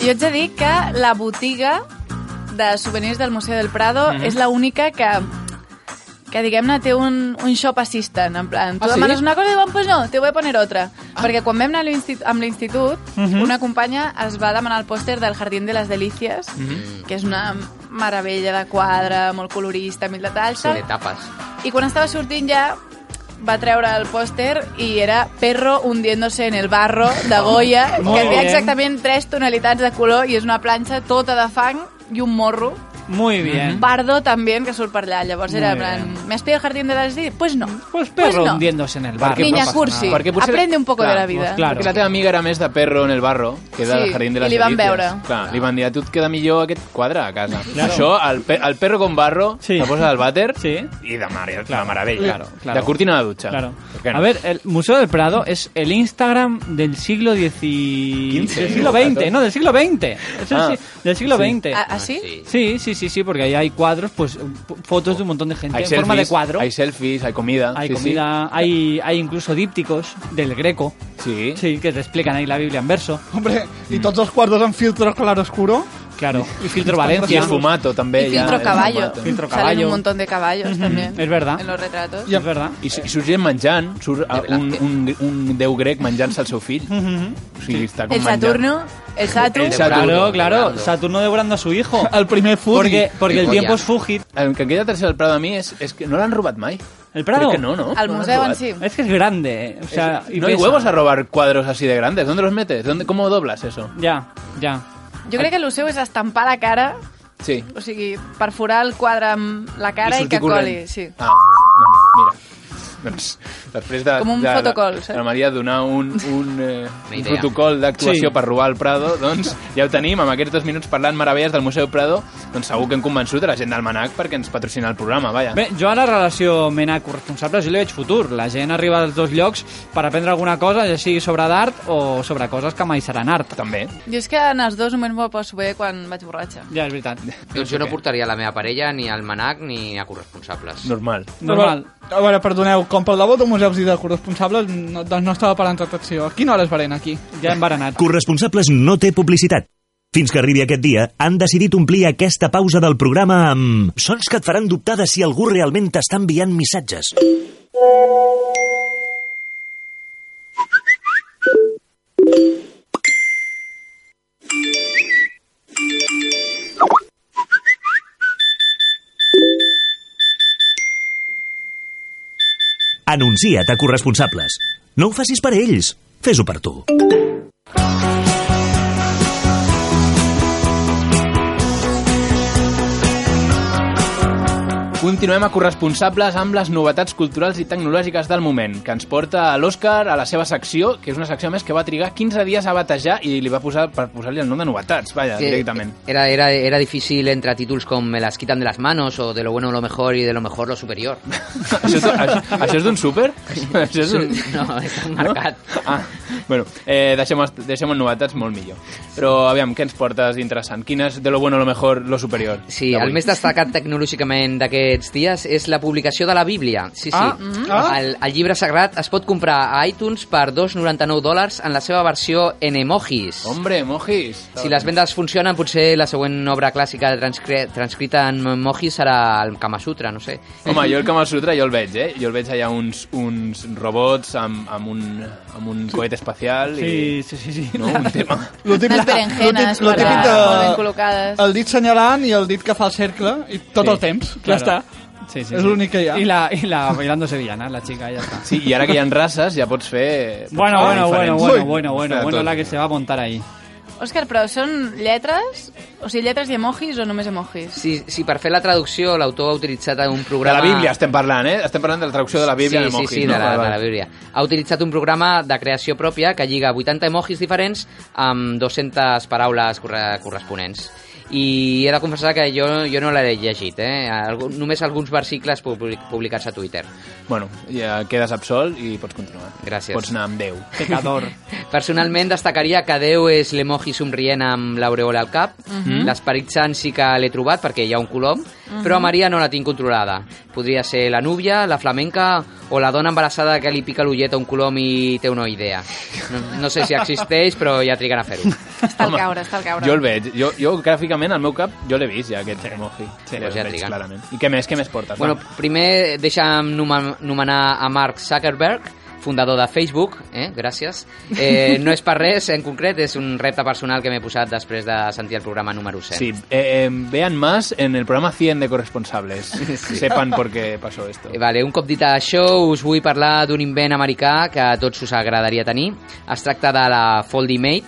Jo ets a dir que la botiga de souvenirs del Museu del Prado Mhm. mm. és la única que que diguem-ne té un, un shop assistant en plan, tu Ah, sí? demanes una cosa i diuen pues no, te voy a poner otra ah. perquè quan vam anar a l'instit- amb l'institut Mhm. una companya es va demanar el pòster del Jardín de les Delícies Mm. Mm-hmm. que és una meravella de quadre molt colorista, mil detalls se tal. le tapes. I quan estava sortint ja va treure el pòster i era perro hundiéndose en el barro de Goya, Molt que té bien. exactament tres tonalitats de color i és una planxa tota de fang i un morro. Muy bien. Bardo també, que surt per allà. Llavors era Eh? Molt en plan, ¿me has pedido el jardín de las Delícies? Pues no. Pues perro no. hundiéndose en el bar. Perquè Niña no passa cursi, nada. Perquè potser- aprende un poco clar, de la vida. pues clar. Perquè la teva amiga era més de perro en el barro, que era Sí, del jardín de i les li van Delicias. veure. Clar, li van dir, a tu et queda millor aquest quadre a casa. Això, el, pe el perro con barro, Sí. sí. te posa al vàter Sí. i de mar la meravella. Claro, claro. De cortina de dutxa. Claro. Per què no? A ver, el Museo del Prado es el Instagram del siglo XIX. Quince, Del siglo o XX, catorce. no, del siglo XX. Es el Ah. si- del siglo XX. ¿Ah, ah, sí? Sí. Sí, sí, sí, sí, porque ahí hay cuadros, pues p- fotos de un montón de gente Hay en forma de selfies, cuadro. Hay selfies, hay comida. Hay sí, comida, Hay, hay incluso dípticos del Greco, Sí. sí. sí, que te explican ahí la Biblia en verso. Hombre, i tots els quartos amb filtre claroscuro? Claro, y filtro I Valencia. el fumato, també. Y ja, filtro el caballo. fumato. Filtro Salen caballo. un montón de caballos también. Es verdad. En los retratos. Es verdad. I, su- i surt gent menjant, surt ah, un, un, un déu grec menjant-se el seu fill. O sigui, està com El Saturno, el Saturn. El Saturno. Claro, claro, devorando. Saturno devorando a su hijo. El primer foodie. Porque, porque el Goya. tiempo es fugit. El que queda tercer del Prado a mi és, és que no l'han robat mai. El Prado. Crec que no, no? Al No l'han museu en robat. sí. Es que es grande, eh, o sea, y no hay pesa. huevos a robar cuadros así de grandes. ¿Dónde los metes? ¿Dónde, ¿Cómo doblas eso? Ya, ya. Jo crec que el seu és estampar la cara Sí. O sigui, perforar el quadre amb la cara i, que sortir corrent. coli, sí. Ah, no, mira. Doncs, després de, Com un de, de- fotocall, de eh? la Maria donar un, un, eh, un idea. protocol d'actuació Sí. per robar el Prado, doncs ja ho tenim, amb aquests dos minuts parlant meravelles del Museu Prado, doncs segur que hem convençut a la gent del Manac perquè ens patrocina el programa, vaja. Bé, jo a la relació mena-corresponsable jo li veig futur. La gent arriba dels dos llocs per aprendre alguna cosa, ja sigui sobre d'art o sobre coses que mai seran art. També. Jo és que en els dos només m'ho passo bé quan vaig borratxa. Ja, és veritat. Doncs jo no portaria la meva parella ni al manac ni a corresponsables. Normal. Normal. A veure, perdoneu, com pel debò de museus i de corresponsables, no, doncs no estava parlant atenció. A quina hora es barena aquí? Ja hem barenat. Corresponsables no té publicitat. Fins que arribi aquest dia, han decidit omplir aquesta pausa del programa amb sons que et faran dubtar de si algú realment t'està enviant missatges. Anuncia't a corresponsables. No ho facis per ells, fes-ho per tu. Continuem a corresponsables amb les novetats culturals i tecnològiques del moment, que ens porta a l'Òscar a la seva secció, que és una secció a més que va trigar 15 dies a batejar i li va posar per posar-li el nom de novetats, vaja, Que- directament. Era, era, era difícil entre títulos con Me las quitan de las manos o De lo bueno lo mejor y De lo mejor lo superior. Això, és- això, això és d'un súper? Això és un... No, és un mercat. No? Ah, bueno, eh, deixem, els- deixem en novetats molt millor. Però aviam, què ens portes interessant? Quin és de lo bueno, lo mejor, lo superior? Sí, el més destacat tecnològicament d'aquests dies és la publicació de la Bíblia. Sí, sí. Ah, mhm. Ah. El, el llibre sagrat es pot comprar a iTunes per 2,99 dòlars en la seva versió en emojis. Hombre, emojis. Si les vendes funcionen, potser la següent obra clàssica transcre- transcrita en emojis serà el Kama Sutra, no sé. Home, jo el Kama Sutra jo el veig, eh? Jo el veig allà uns, uns robots amb, amb un, amb un coet espacial i... Sí, sí, sí. No, un tema. Lo típic- Unes berenjenes lo típic- lo per típic de- molt ben col·locades. El dit senyalant i el dit que fa el cercle, i tot Sí, el temps, ja claro. està. Sí, sí, És sí. l'únic que hi ha. I la, i la bailando sevillana, la xica, ja està. Sí, i ara que hi ha races ja pots fer... Bueno, pots fer bueno, bueno, diferents. bueno, bueno, bueno, Fer bueno, tot. la que se va a montar ahí. Òscar, però són lletres? O sigui, lletres i emojis o només emojis? Si, si per fer la traducció l'autor ha utilitzat un De programa... la Bíblia estem parlant, eh? Estem parlant de la traducció de la Bíblia sí, en emojis. Sí, sí, no? de, la, Val, de val. la Bíblia. Ha utilitzat un programa de creació pròpia que lliga 80 emojis diferents amb 200 paraules corre corresponents. I he de confessar que jo, jo no l'he llegit, eh? Algun, només alguns versicles publi- publicats a Twitter. Bueno, ja quedes absolt i pots continuar. Gràcies. Pots anar amb Déu. Pecador. Personalment destacaria que Déu és l'emoji somrient amb l'aureola al cap. Mhm. L'Esperit Sant sí que l'he trobat perquè hi ha un colom, però a Maria no la tinc controlada. Podria ser la núvia, la flamenca o la dona embarassada que li pica l'ullet a un colom i té una idea. No, no sé si existeix, però ja triguen a fer-ho. Està al Home, caure, està al caure. Jo el veig. Jo, jo gràficament, al meu cap, jo l'he vist, ja, aquest emoji. Sí, Pues ja el veig triguen. clarament. I què més? Què més portes? Bueno, Va. primer deixa'm nomen- nomenar a Mark Zuckerberg, fundador de Facebook, eh? gràcies. Eh, no és per res, en concret, és un repte personal que m'he posat després de sentir el programa número 100. Sí, eh, eh, vean más en el programa 100 de corresponsables. Sepan por qué pasó esto. Eh, Vale, un cop dit això, us vull parlar d'un invent americà que a tots us agradaria tenir. Es tracta de la Foldimate,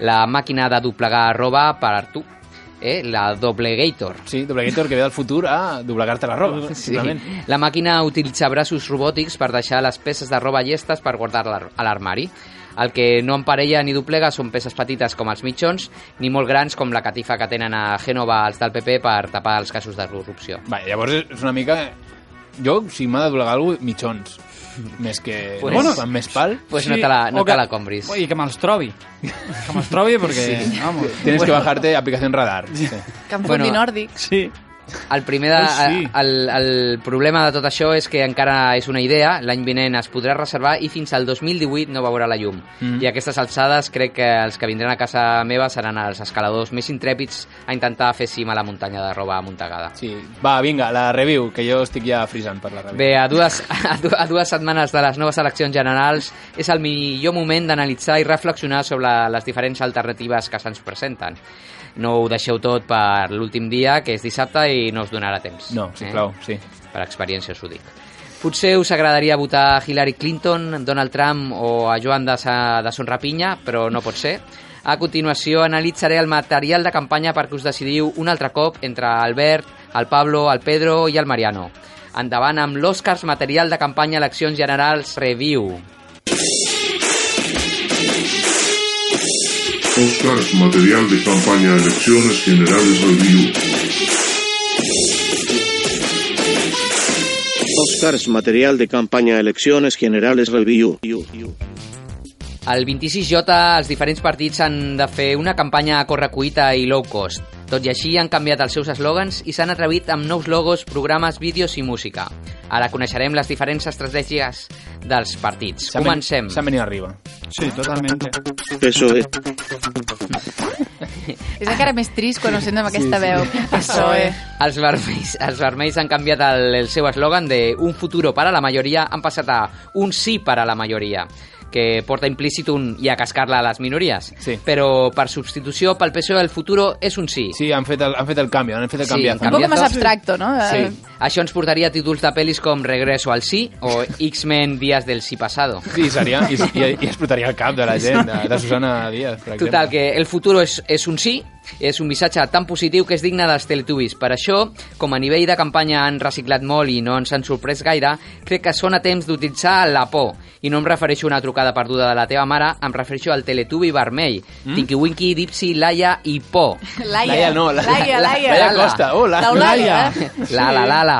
la màquina de doblegar roba per tu, eh? la Doblegator. Sí, Doblegator, que ve del futur a doblegar-te la roba, Sí. simplement. La màquina utilitza braços robòtics per deixar les peces de roba llestes per guardar-la a l'armari. El que no emparella ni doblega són peces petites com els mitjons, ni molt grans com la catifa que tenen a Gènova els del PP per tapar els casos de corrupció. Va, Eh, llavors és una mica... Jo, si m'ha de doblegar alguna cosa, mitjons. Més que... Pues- Bueno, quan més pal... Pues no te la, no o que- te la compris. Oye, que me'ls trobi. Que me'ls trobi perquè... Sí. Vamos. Tienes que bajarte aplicación radar. Sí. Que em fotin Bueno, nòrdic. Sí. El primer de, Ai, sí. el, el problema de tot això és que encara és una idea, l'any vinent es podrà reservar i fins al 2018 no veurà la llum. Mm. Mhm. I a aquestes alçades crec que els que vindran a casa meva seran els escaladors més intrèpids a intentar fer cima a la muntanya de roba amuntegada. sí. Va, vinga, la review, que jo estic ja frisant per la review. Bé, a dues, a, du, a dues setmanes de les noves eleccions generals és el millor moment d'analitzar i reflexionar sobre les diferents alternatives que se'ns presenten. No ho deixeu tot per l'últim dia, que és dissabte, i no us donarà temps. No, sisplau, sí. Eh? Per experiència us ho dic. Potser us agradaria votar Hillary Clinton, Donald Trump o a Joan de, Sa, de Son Rapinya, però no pot ser. A continuació analitzaré el material de campanya perquè us decidiu un altre cop entre Albert, el Pablo, el Pedro i el Mariano. Endavant amb l'Oscars Material de Campanya Eleccions Generals Review. Oscars Material de Campaña Elecciones Generales Review. Oscars Material de Campaña Elecciones Generales Review. El 26J els diferents partits han de fer una campanya a correcuita i low cost. Tot i així han canviat els seus eslògans i s'han atrevit amb nous logos, programes, vídeos i música. Ara coneixerem les diferents estratègies dels partits. ven- Comencem. s'han venit arriba. Sí, totalmente. PSOE. És encara més trist quan ho sento amb aquesta veu. PSOE. Els vermells, els vermells han canviat el, el seu eslògan de un futuro para la mayoría, han passat a un sí para la mayoría, que porta implícit un i a cascar-la a les minories. Sí. Però per substitució pel PSOE el futuro és un sí. Sí, han fet el, han fet el canvi, han fet el canvi. Sí, han un poc canviat el- Més abstracto, no? Eh, Sí. Això ens portaria a títols de pel·lis com Regreso al sí o X-Men Días del sí pasado. Sí, seria, i, i, i explotaria el cap de la gent, eh, de, de Susana Díaz, per exemple. Total, que el futur és, és un sí, és un missatge tan positiu que és digne dels Teletubbies. Per això, com a nivell de campanya han reciclat molt i no ens han sorprès gaire, crec que són a temps d'utilitzar la por. I no em refereixo a una trucada perduda de la teva mare, em refereixo al Teletubbi vermell. Mm? Tinky Winky, Dipsy, Laia i Por. Laia. Laia no, la- Laia, Laia. eh? Laia Costa, oh, la- D'Eulàlia. Laia. La, la, la, la.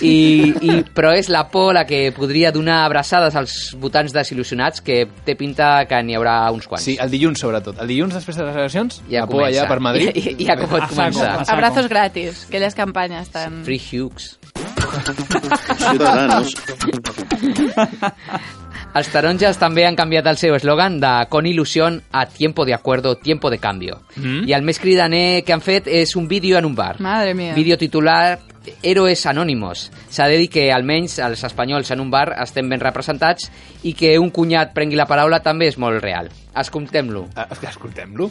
I, i, però és la por la que podria donar abraçades als votants desil·lusionats que té pinta que n'hi haurà uns quants. Sí, el dilluns, sobretot. El dilluns, després de les eleccions, ja la por comença. allà per Madrid. Ah, Ja- ja- ja com pot començar. Abrazos gratis. Aquelles campanyes tan... Free Hughes. Ciudadanos. Els taronges també han canviat el seu eslògan de con ilusión a tiempo de acuerdo, tiempo de cambio. Mm? I el més cridaner que han fet és un vídeo en un bar. Madre mía. Vídeo titular Héroes Anònimos. S'ha de dir que almenys els espanyols en un bar estem ben representats i que un cunyat prengui la paraula també és molt real. Escoltem-lo. Escoltem-lo.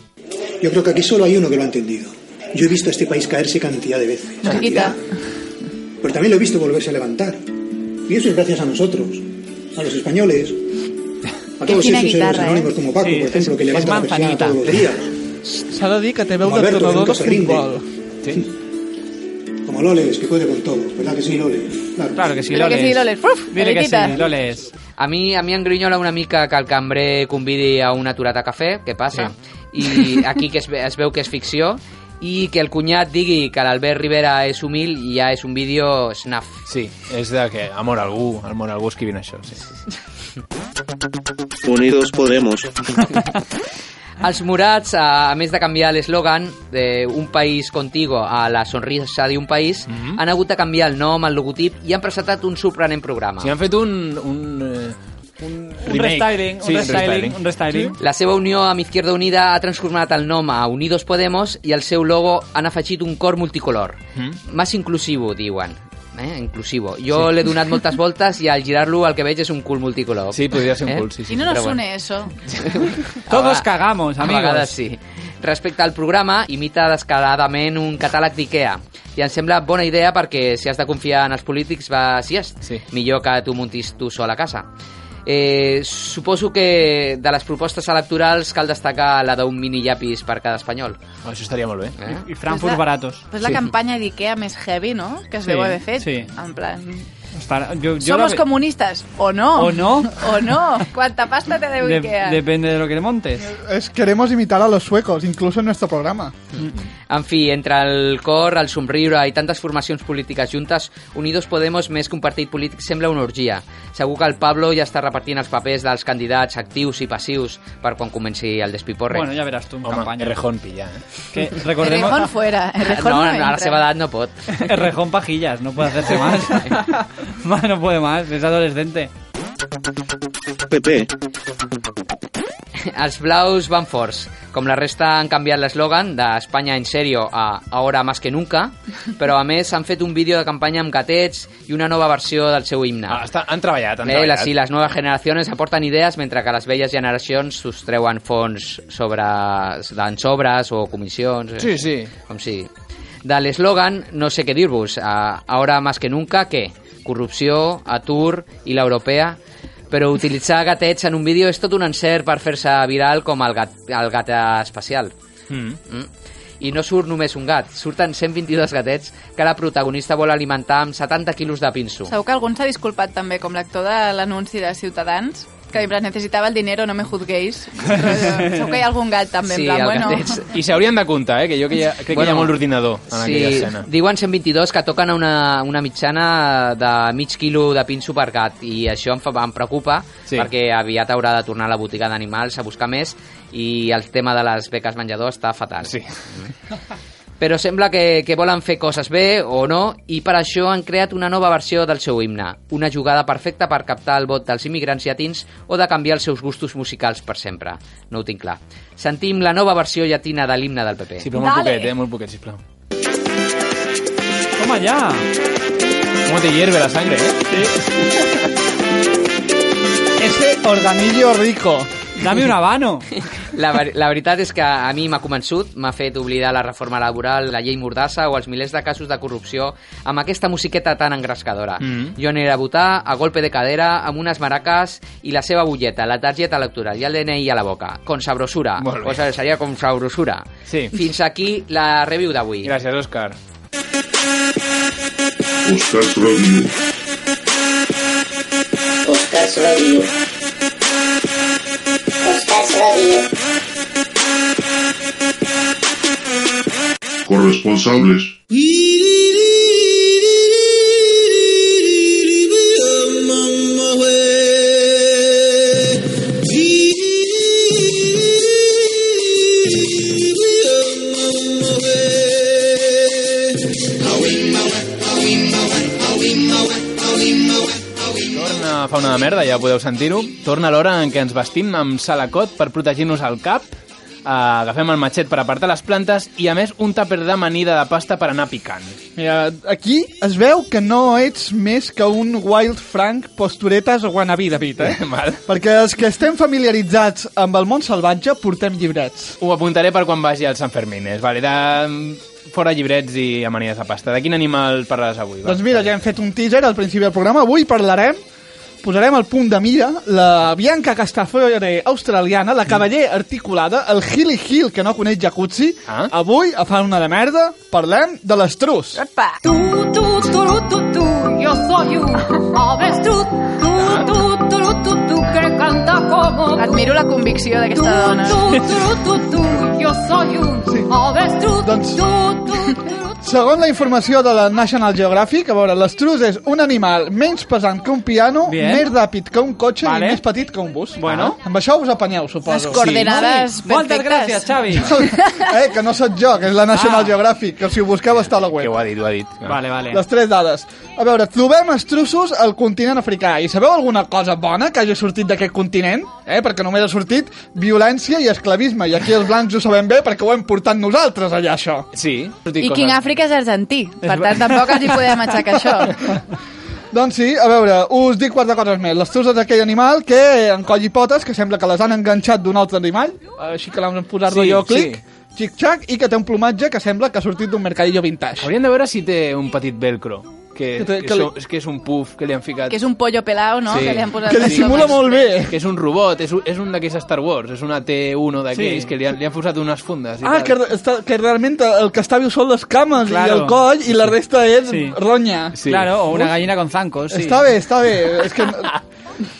Yo creo que aquí solo hay uno que lo ha entendido. Yo he visto a este país caerse cantidad de veces. Chiquita. Pero también lo he visto volverse a levantar. Y eso es gracias a nosotros, a los españoles, a Qué todos fina esos héroes guitarra, anónimos como Paco, Sí, por ejemplo, es- que es levanta la persiana manzanita. todos los días. S'ha de dir que té veu Como de Alberto, que tronador nunca de se rinde. futbol. Como Loles, que puede con todo. ¿Verdad que sí, Loles? Claro, Claro que sí, Loles. Uf, alegritita. Loles. A mi, a mi em grinyola una mica que el cambrer convidi a un aturat a cafè, què passa? Sí. I aquí que es, ve- es veu que és ficció, i que el cunyat digui que l'Albert Rivera és humil i ja és un vídeo snaf. Sí, és de que amor a algú, amor a algú escrivint això. Sí. Unidos Podemos. Els morats, a, a més de canviar l'eslògan de un país contigo a la sonrisa d'un país, Mhm. han hagut de canviar el nom, el logotip i han presentat un sorprenent programa. Sí, han fet un... un eh, Un Remake. restyling, Sí, un restyling, un restyling. La seva unió amb Izquierda Unida ha transformat el nom a Unidos Podemos i al seu logo han afegit un cor multicolor. Mm, Más inclusivo, diuen. Eh? Inclusivo. Jo Sí. sí. l'he donat moltes voltes i al girar-lo el que veig és un cul multicolor. Eh? Sí, podria ser un cul, sí, Eh? I no nos Però bueno. une eso. Todos cagamos, A amigos. vegades sí. Respecte al programa, imita descaradament un catàleg d'IKEA. I em sembla bona idea perquè si has de confiar en els polítics, va si és. Sí. Millor que tu muntis tu sol a casa. Eh, suposo que de les propostes electorals cal destacar la d'un mini llapis per cada espanyol. Oh, això estaria molt bé. Eh? I Frankfurt baratos. Però és la campanya d'Ikea més heavy, no? Que es Sí, deu haver fet. sí. En plan... Estarà- jo, jo Somos la- comunistas, o no. O no. O no. Quanta pasta te deu De- Ikea. depende de lo que le montes. Es, queremos imitar a los suecos, incluso en nuestro programa. Mm. En fi, entre el cor, el somriure i tantes formacions polítiques juntes, Unidos Podemos més que un partit polític sembla una orgia. Segur que el Pablo ja està repartint els papers dels candidats actius i passius per quan comenci el despiporre. Bueno, ja veràs tu en Home, campanya. Errejón pilla, eh? Que recordem... Errejón fuera. Errejón no, no, a la entra. seva edat no pot. Errejón pajillas, no puede hacerse más. Más no puede más, es adolescente. PP. Els blaus van forts. Com la resta han canviat l'eslògan d'Espanya en serio a Ahora más que nunca, però a més han fet un vídeo de campanya amb gatets i una nova versió del seu himne. Ah, està, han treballat, han eh, treballat. Les, sí, les noves generacions aporten idees mentre que les velles generacions sostreuen fons sobre, en sobres o comissions. eh, Sí, sí. Com si... De l'eslògan, no sé què dir-vos, a Ahora más que nunca, què? Corrupció, atur i l'europea... Però utilitzar gatets en un vídeo és tot un encert per fer-se viral com el gat, el gat espacial. Mm. Mm. i no surt només un gat, surten 122 gatets que la protagonista vol alimentar amb 70 quilos de pinso. Segur que algun s'ha disculpat també, com l'actor de l'anunci de Ciutadans, que sempre necessitava el dinero, no me juzguéis. Però, eh, Segur que hi ha algun gat també, en plan, bueno... I s'haurien de comptar, eh? Que jo que ja, crec que hi Bueno, ha molt d'ordinador en aquella escena. Diuen 122 que toquen a una, una mitjana de mig quilo de pinso per gat i això em, fa, em preocupa Sí. sí. perquè aviat haurà de tornar a la botiga d'animals a buscar més i el tema de les beques menjador està fatal. Sí. Però sembla que, que volen fer coses bé o no i per això han creat una nova versió del seu himne, una jugada perfecta per captar el vot dels immigrants llatins o de canviar els seus gustos musicals per sempre. No ho tinc clar. Sentim la nova versió llatina de l'himne del PP. Sí, però molt poquet, eh? Molt poquet, sisplau. Toma ya. ¿Cómo te hierve la sangre, eh? Ese organillo rico. Dame un habano. La, ver la veritat és que a mi m'ha convençut, m'ha fet oblidar la reforma laboral, la llei Mordassa o els milers de casos de corrupció amb aquesta musiqueta tan engrescadora. Mhm. Jo aniré a votar a golpe de cadera, amb unes maraques i la seva butlleta, la targeta electoral i el DNI a la boca. Con sabrosura. Molt bé. O sigui, seria com sabrosura. Sí. Fins aquí la review d'avui. Gràcies, Òscar. Oscar Review. Oscars Radio. Oscars Radio. Corresponsables. Torna fa una de merda, ja podeu sentir-ho. Torna l'hora en què ens vestim amb salacot per protegir-nos al cap, eh, agafem el matxet per apartar les plantes i, a més, un tàper d'amanida de pasta per anar picant. Mira, aquí es veu que no ets més que un Wild Frank posturetes o wannabe, David, eh? Mal. Perquè els que estem familiaritzats amb el món salvatge portem llibrets. Ho apuntaré per quan vagi als Sant Fermines, vale? De... mm, Fora llibrets i amanides de pasta. De quin animal parlaràs avui? Va? Doncs mira, ja hem fet un teaser al principi del programa. Avui parlarem, posarem al punt de mira la Bianca Castafiore australiana, la cavaller articulada, el Hilly Hill que no coneix jacuzzi. Ah? Avui, a fan una de merda, parlem de l'estrus. Tú, tú, tú, tú, tú, yo soy un avestruz. Tú, tú, tú, tú, tú, que canta como tú. Admiro la convicció d'aquesta dona. Tú, tú, tú, tú, yo soy un avestruz. Doncs Tú, tú, Segons la informació de la National Geographic, a veure, l'estrus és un animal menys pesant que un piano, Bien. més ràpid que un cotxe Vale. i més petit que un bus. Ah. Bueno. Amb això us apanyeu, suposo. Les coordenades Sí. Moltes gràcies, Xavi. Ah. eh, que no sóc jo, que és la National Geographic, que si ho busqueu està a la web. Que ho ha dit, ho ha dit. Vale, vale. Les tres dades. A veure, trobem estrussos al continent africà. I sabeu alguna cosa bona que hagi sortit d'aquest continent? Eh? Perquè només ha sortit violència i esclavisme. I aquí els blancs ho sabem bé perquè ho hem portat nosaltres allà, això. Sí. I King Africa és argentí, per tant tampoc els hi podem aixecar això. Doncs sí, a veure, us dic quatre coses més. L'estrus és aquell animal que encolli potes, que sembla que les han enganxat d'un altre animal, així que l'han posat Sí, sí, jo sí. clic, sí. xic-xac, i que té un plomatge que sembla que ha sortit d'un mercadillo vintage. Hauríem de veure si té un petit velcro. Que, Que que, té- que, que li- so- és que és un puff que li han ficat. Que és un pollo pelao, no? Que li han posat... Que li les simula copes. molt bé. Que és un robot, és un, és un d'aquells Star Wars, és una T1 d'aquells, Sí. sí. que li han, li han posat unes fundes. I Ah, que, tal. re- està, que realment el que està viu són les cames claro. i Claro. el coll i la resta és sí. Sí. ronya. Sí. Claro, o una gallina con zancos. Sí. Està bé, està bé. És que...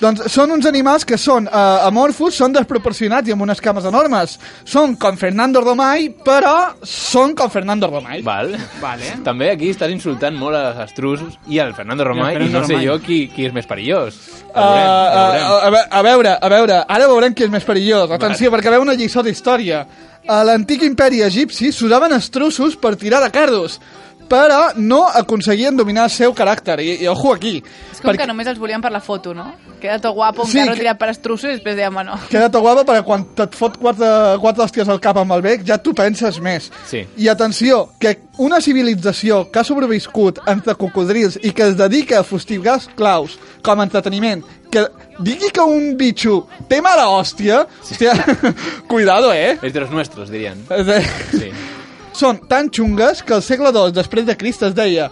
Doncs són uns animals que són uh, amorfos, són desproporcionats i amb unes cames enormes. Són com Fernando Romay, però són com Fernando Romay. Val. Vale. També aquí estàs insultant molt a les astrusos i al Fernando Romay, i, Fernando no sé Romay. jo qui, qui és més perillós. Uh, uh, a, ve- a veure, a veure, ara veurem qui és més perillós. Atenció, perquè veu una lliçó d'història. A l'antic imperi egipci s'usaven estrussos per tirar de cardos, però no aconseguien dominar el seu caràcter. I, i ojo aquí. És com que només els volien per la foto, no? Queda tot guapo, un Sí, sí, carro que- tirat per estrussos i després dèiem, bueno... Queda tot guapa perquè quan et fot quatre, quatre hòsties al cap amb el bec ja t'ho penses més. Sí. I atenció, que una civilització que ha sobreviscut entre cocodrils i que es dedica a fustigar els claus com a entreteniment, que digui que un bitxo té mala hòstia, hòstia cuidado, eh? És de los nuestros, dirien. És de- Sí. Són tan xungues que al segle II després de Crist es deia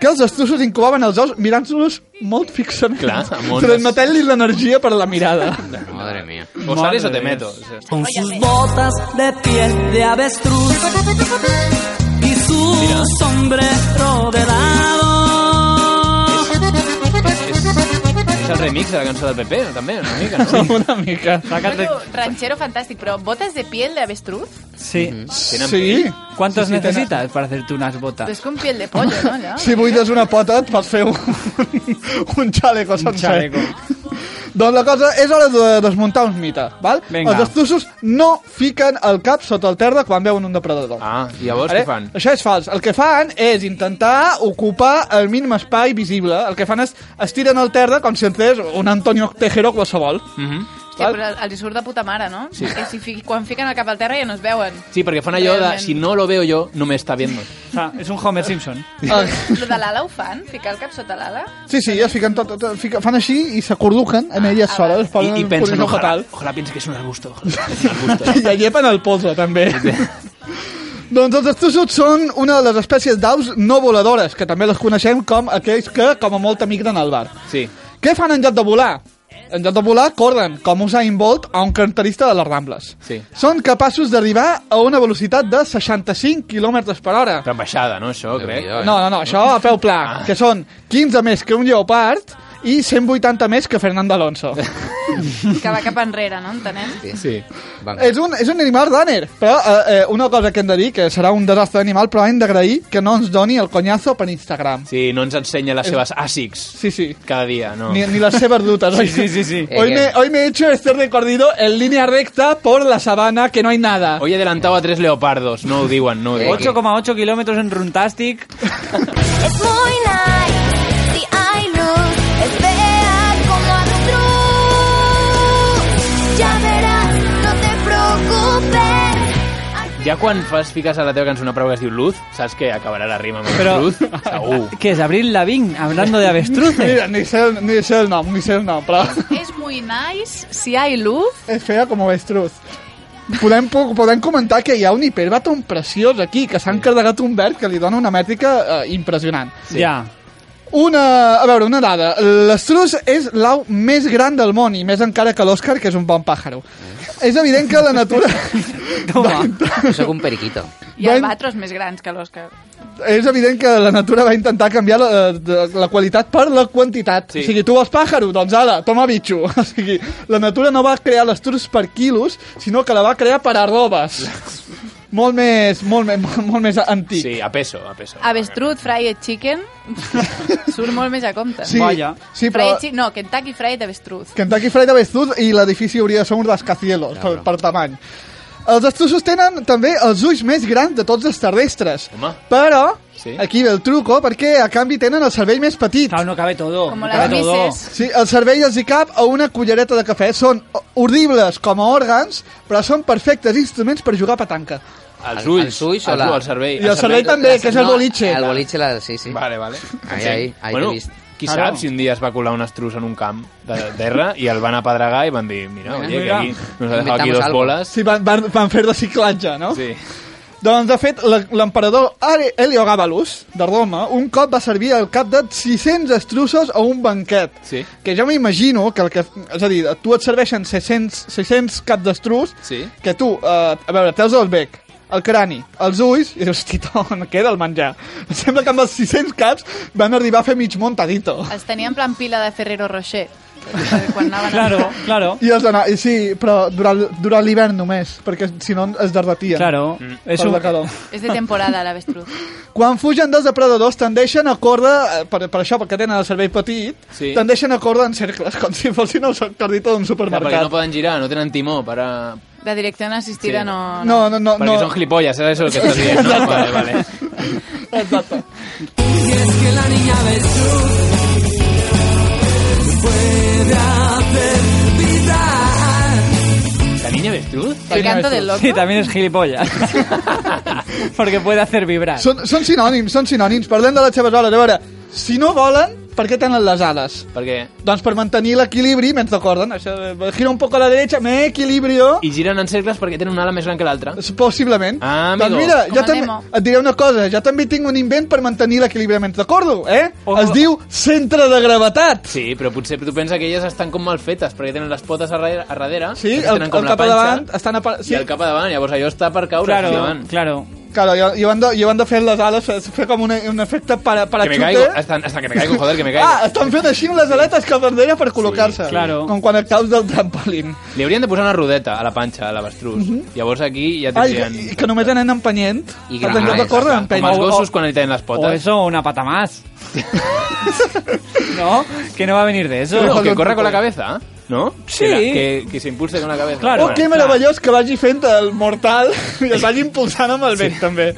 que els estrussos incubaven els ous mirant-los molt fixament, Clar, amb ones. transmetent-li l'energia per la mirada. Madre mía. O Madre sales o te mía. meto. con sus botas de piel de avestruz y su sombrero de lado. És el remix de la cançó del PP, no? també, una mica, no? una mica. Ranchero fantàstic, però botes de piel de avestruz? Sí. Tenen Sí. pell? ¿Cuántas Sí, sí, tenen- necesitas para hacerte unas botas? Però és com piel de pollo, no? Allò? Ah, Si buides una pota et pots fer un, un xaleco sencer. xaleco. Doncs la cosa és hora de desmuntar uns mites, val? Vinga. Els estrussos no fiquen el cap sota el terra quan veuen un depredador. Ah, i llavors Vale? què fan? Això és fals. El que fan és intentar ocupar el mínim espai visible. El que fan és estiren el terra com si entrés un Antonio Tejero qualsevol. Mm -hmm. Hòstia, però els hi surt de puta mare, no? Sí. Que si fi, quan fiquen el cap al terra ja no es veuen. Sí, perquè fan allò de, Realment. si no lo veo yo, no me está viendo. Ah, és un Homer Simpson. Ah, Lo de l'ala ho fan? Ficar el cap sota l'ala? Sí, sí, es fiquen tot, tot, fiquen, fan així i s'acorduquen en elles soles. es posen Ah, I, i en pensen, posició ojalá, fetal. ojalá piense que es un arbusto. I allepen el polso, també. doncs els estrussos són una de les espècies d'aus no voladores, que també les coneixem com aquells que, com a molt, migren al bar. Sí. Què fan en lloc de volar? En lloc de volar, corren, com Usain Bolt o un cantarista de les Rambles. Sí. Són capaços d'arribar a una velocitat de 65 km per hora. Però ambaixada, no, això, crec. No, no, no, això a peu pla, que són 15 més que un lleopard i 180 més que Fernando Alonso. Que va cap enrere, no? Entenem? Sí. És un, és un animal runner, però eh, eh, una cosa que hem de dir, que serà un desastre d'animal, però hem d'agrair que no ens doni el conyazo per Instagram. Sí, no ens ensenya les seves àsics. Eh, Sí, sí. Cada dia, no. Ni, ni las seves dutas. Sí, sí, sí, Eh, sí. Hoy, me, hoy me he hecho este recorrido en línea recta por la sabana, que no hay nada. Hoy he adelantado a tres leopardos, no ho diuen, no ho diuen. 8,8 kilómetros en Runtastic. Es muy nice, si hay luz, espera como avestruz. Ya verás, no te preocupes. Ja quan fas, fiques a la teva cançó una prova que es diu Luz, saps que acabarà la rima amb Però- Luz? Segur. ¿Qué es? Abril Lavín, hablando de avestruces. Mira, ni sé, el- ni sé el nom, ni sé el nom, però... És muy nice, si hay luz. És fea com avestruz. Podem, po- podem comentar que hi ha un hiperbaton preciós aquí, que s'ha encarregat un verd que li dona una mètrica eh, impressionant. Ya. Una, a veure, una dada. L'estruç és l'au més gran del món, i més encara que l'Òscar, que és un bon pàjaro. És evident que la natura... Jo soc un periquito. Hi ha albatros més grans que l'Òscar. és evident que la natura va intentar canviar la, de- la qualitat per la quantitat. Sí. O sigui, tu vols pàjaro? Doncs ala, toma bitxo. O sigui, la natura no va crear l'estrus per quilos, sinó que la va crear per arrobes. molt més, molt més, molt més antic. Sí, a peso, a peso. Avestrut, fried chicken, surt molt més a compte. Sí, Vaja. sí, però- Fried chi- no, Kentucky fried avestruz. Kentucky Fried Avestruz i l'edifici hauria de ser un rascacielos per, per tamany. Els estrussos tenen també els ulls més grans de tots els terrestres. Home. Però, Sí. sí. aquí ve el truco, perquè a canvi tenen el cervell més petit. Claro, no cabe todo. Com no les cabe todo. misses. Sí, el cervell els hi cap a una cullereta de cafè. Són horribles com a òrgans, però són perfectes instruments per jugar a petanca. Els ulls. Els ulls o els, la- el cervell. I el cervell també, que és el boliche. El boliche, la... sí, sí. Vale, vale. Ahí, ahí, ahí bueno, t'he vist. qui Claro. sap si un dia es va colar un estrus en un camp de terra i el van apedregar i van dir, mira, Mira, oye, que mira. aquí nos ha dejado aquí Inventamos dos algo. bolas. Sí, van, van, van fer reciclatge, no? Sí. Doncs, de fet, la- l'emperador Are- Heliogabalus, de Roma, un cop va servir al cap de 600 estrussos a un banquet. Sí. Que jo m'imagino que el que... És a dir, a tu et serveixen 600, 600 cap d'estrus Sí. que tu, eh, a veure, treus el bec, el crani, els ulls, i dius, tito, on queda el menjar? Em sembla que amb els 600 caps van arribar a fer mig montadito. Els tenia en plan pila de Ferrero Rocher. Quan anaven a- Claro, claro. I els anar... i Sí, però durant, durant l'hivern només, perquè si no es derretia. Claro. Es Per un- la calor. És de temporada, l'avestruz. Quan fugen dels depredadors, tendeixen a córrer, eh, per, per això, perquè tenen el cervell petit, Sí. tendeixen a córrer en cercles, com si fossin el cardito d'un Clar, perquè no supermercat. poden girar, no tenen timó per a... La dirección asistida Sí. no... No, no, no. Perquè són no. gilipolles, és això el que estàs dient, no? Vale, vale. Exacte. Y es que la niña avestruz puede hacer vida. La niña avestruz? El canto del loco. Sí, también es gilipollas. Porque puede hacer vibrar. Són, són sinònims, són sinònims. Parlem de les seves hores. A veure, si no volen, Per què tenen les ales? Per què? Doncs per mantenir l'equilibri, me'n recorden? Això, eh, gira un poc a la dreta, me equilibrio... I giren en cercles perquè tenen una ala més gran que l'altra. Eh, Possiblement. Ah, amigo. Doncs mira, jo Com també, anem-ho? et diré una cosa, jo també tinc un invent per mantenir l'equilibri, me'n recordo, eh? Es diu centre de gravetat. Sí, però potser tu penses que elles estan com mal fetes, perquè tenen les potes a darrere, a darrere Sí, després el, tenen el com la cap a panxa, davant estan a... pa- i el cap a davant, llavors allò està per caure Claro, hacia davant. Claro. Claro, jo, jo, han de, jo han de fer les ales, eh, fer, fer com una, un efecte para, para Que me caigo, estan, estan que me caigo, joder, que me caigo. Ah, estan fent així amb les aletes cap enrere per col·locar-se. claro. Com quan et caus del trampolín. Li haurien de posar una rodeta a la panxa, a l'avestrús. Mhm. Llavors aquí ja Ai, tindrien... que, que només anem empenyent. I gran, gran, exacte. recorda, Com empeny. els gossos quan li tallen les potes. O eso, o una pata más. no, que no va a venir de eso. Bueno, que corra con la cabeza, ¿no? Sí. Que, la- que, que se impulse con la cabeza. Claro, oh, que meravellós que vagi fent el mortal i es vagi impulsant amb el vent, Sí. també.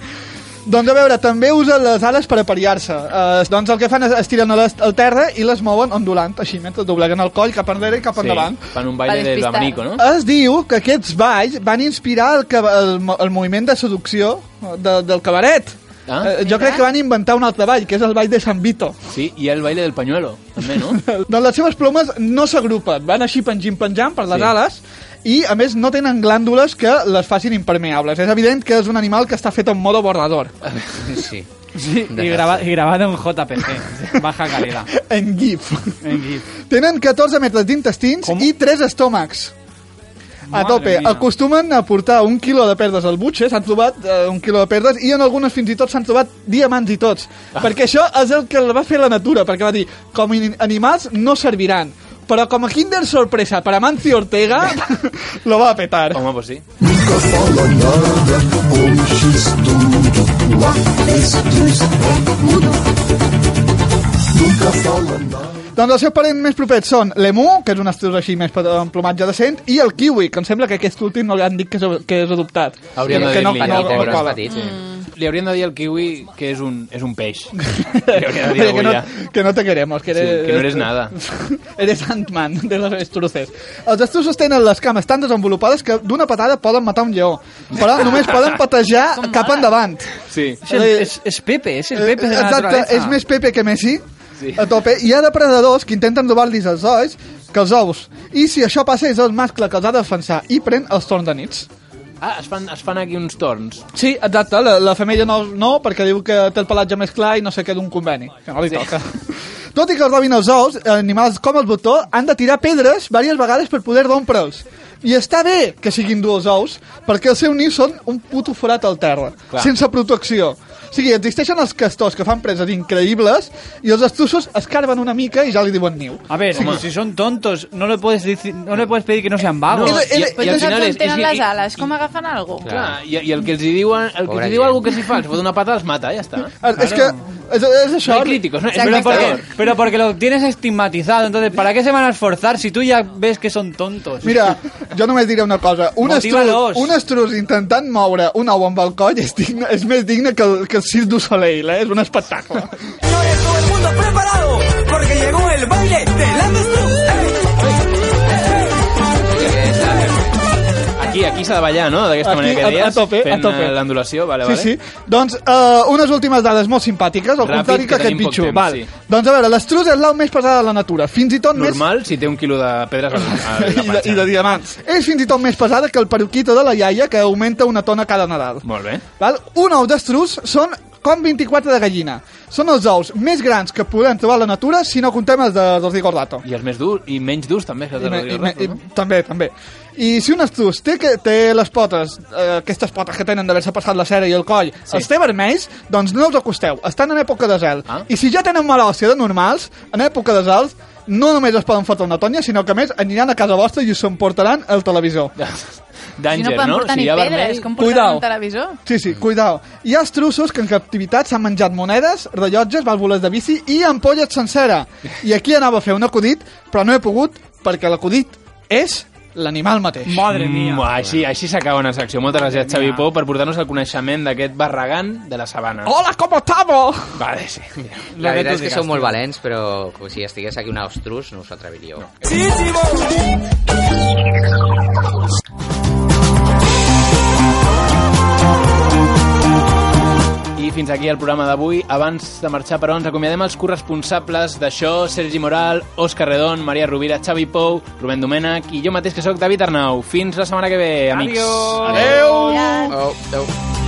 Doncs a veure, també usen les ales per aparear-se. Uh, doncs el que fan és estiren a les, al terra i les mouen ondulant, així, mentre dobleguen el coll cap enrere i cap Sí, endavant. fan un baile Pa del despistar. abanico, no? Es diu que aquests balls van inspirar el, ca- el, mo- el moviment de seducció eh, de, del cabaret. Ah. Eh, jo crec que van inventar un altre ball, que és el ball de San Vito. Sí, y el baile del pañuelo, también, ¿no? doncs les seves plomes no s'agrupen, van així pengint-penjant per les Sí. ales i, a més, no tenen glàndules que les facin impermeables. És evident que és un animal que està fet en modo borrador. Sí. Sí, y, graba- y grabado en JPG, baja calidad. En GIF. En GIF. Tenen 14 metres d'intestins i 3 estómacs. A Madre tope. mía. Acostumen a portar un quilo de perdes al butxe, s'han trobat eh, un quilo de perdes, i en algunes fins i tot s'han trobat diamants i tots. Ah. Perquè això és el que el va fer la natura, perquè va dir, com in- animals no serviran. Però com a Kinder Sorpresa per Amancio Ortega, lo va a petar. Home, pues sí. Doncs els seus parents més propers són l'emú, que és un estrus així més pe- amb plomatge decent, i el kiwi, que em sembla que aquest últim no li han dit que és, que és adoptat. Hauríem de que dir-li, no, pobre, cola. petit, sí. Mm. Li hauríem de dir al kiwi que és un, és un peix. Li hauríem de dir Oye, que, avui no, ja. que no te queremos, que Sí, eres... que no eres nada. Eres Ant-Man, de los estruces. Els estruces tenen les cames tan desenvolupades que d'una patada poden matar un lleó, però només poden patejar cap endavant. Sí. Es, el- es- es Pepe, es el Eh, Pepe de la Exacte, naturaleza. és més Pepe que Messi, Sí. a tope. Hi ha depredadors que intenten robar-los els ois que els ous. I si això passa, és el mascle que els ha de defensar i pren els torns de nits. Ah, es fan, es fan aquí uns torns. Sí, exacte, la, la femella no, no, perquè diu que té el pelatge més clar i no sé què d'un conveni, que no li toca. Tot i que els robin els ous, animals com el botó han de tirar pedres diverses vegades per poder rompre'ls. I està bé que siguin durs ous, perquè els seus nius són un puto forat al terra, Clar. Clar. sense protecció. O sigui, existeixen els castors que fan preses increïbles i els estrussos escarben una mica i ja li diuen niu. A ver, si son tontos, no le puedes decir- no le puedes pedir que no sean vagos. No, I, i, al final és... Tenen és- les i, ales, com agafen alguna cosa? clar, i, i el que els hi diuen, el que els Pobre hi diu gent. algú que s'hi fa, els fot una pata, els mata, ja està. És que... És, és això. No hay críticos, no, és Pero veritat. porque, pero porque lo tienes estigmatizado, entonces, ¿para qué se van a esforzar si tú ya ves que son tontos? Mira, jo només diré una cosa. Un Motiva-los. estrus, un estrus intentant moure un ou amb el coll és, digne, és més digne que el, que el Cirque du Soleil, eh? És un espectacle. preparado, porque llegó el baile del Andestruz. Aquí, aquí s'ha de ballar, no? D'aquesta Aquí, manera que a- a deies, tope, a fent tope. eh, l'andulació, vale, Sí, vale. sí. Doncs uh, unes últimes dades molt simpàtiques, al Ràpid, contrari que que aquest tenim poc bitxo. temps, Val. sí. Doncs a veure, l'estrus és l'au més pesada de la natura, fins i tot Normal, si té un quilo de pedres a la, a més... la I de, panxa. I de diamants. És fins i tot més pesada que el peruquito de la iaia, que augmenta una tona cada Nadal. Molt bé. Val? Un ou d'estrus són com 24 de gallina. Són els ous més grans que podem trobar a la natura si no contem els de, dels d'Igordato. I els més durs, i menys durs també. que els I, de me, i, me, Rodrigo i, Rato, no? també, també. I si un estrus té, que, té les potes, eh, aquestes potes que tenen d'haver-se passat la cera i el coll, sí. els té vermells, doncs no els acosteu. Estan en època de zel. Ah. I si ja tenen mala òssia de normals, en època de zel, no només es poden fotre una tonya, sinó que a més aniran a casa vostra i us emportaran el televisor. Si no Danger, poden no? portar Si ni hi ha pedres, vermell... com portar un televisor? Sí, sí, cuidao. Hi ha estrussos que en captivitat s'han menjat monedes, rellotges, vàlvules de bici i ampolles sencera. I aquí anava a fer un acudit, però no he pogut perquè l'acudit és l'animal mateix. Madre Mm, així així s'acaba una secció. Moltes gràcies, Xavi Pou, per portar-nos el coneixement d'aquest barragant de la sabana. Hola, com estamos? Vale, sí. Mira. La veritat és que som molt molt valents, però com si estigués aquí un ostrus no us atreviríeu. I fins aquí el programa d'avui. Abans de marxar, però, ens acomiadem els corresponsables d'això, Sergi Moral, Òscar Redon, Maria Rovira, Xavi Pou, Rubén Domènech i jo mateix, que sóc David Arnau. Fins la setmana que ve, amics. Adiós. Adeu. Adeu.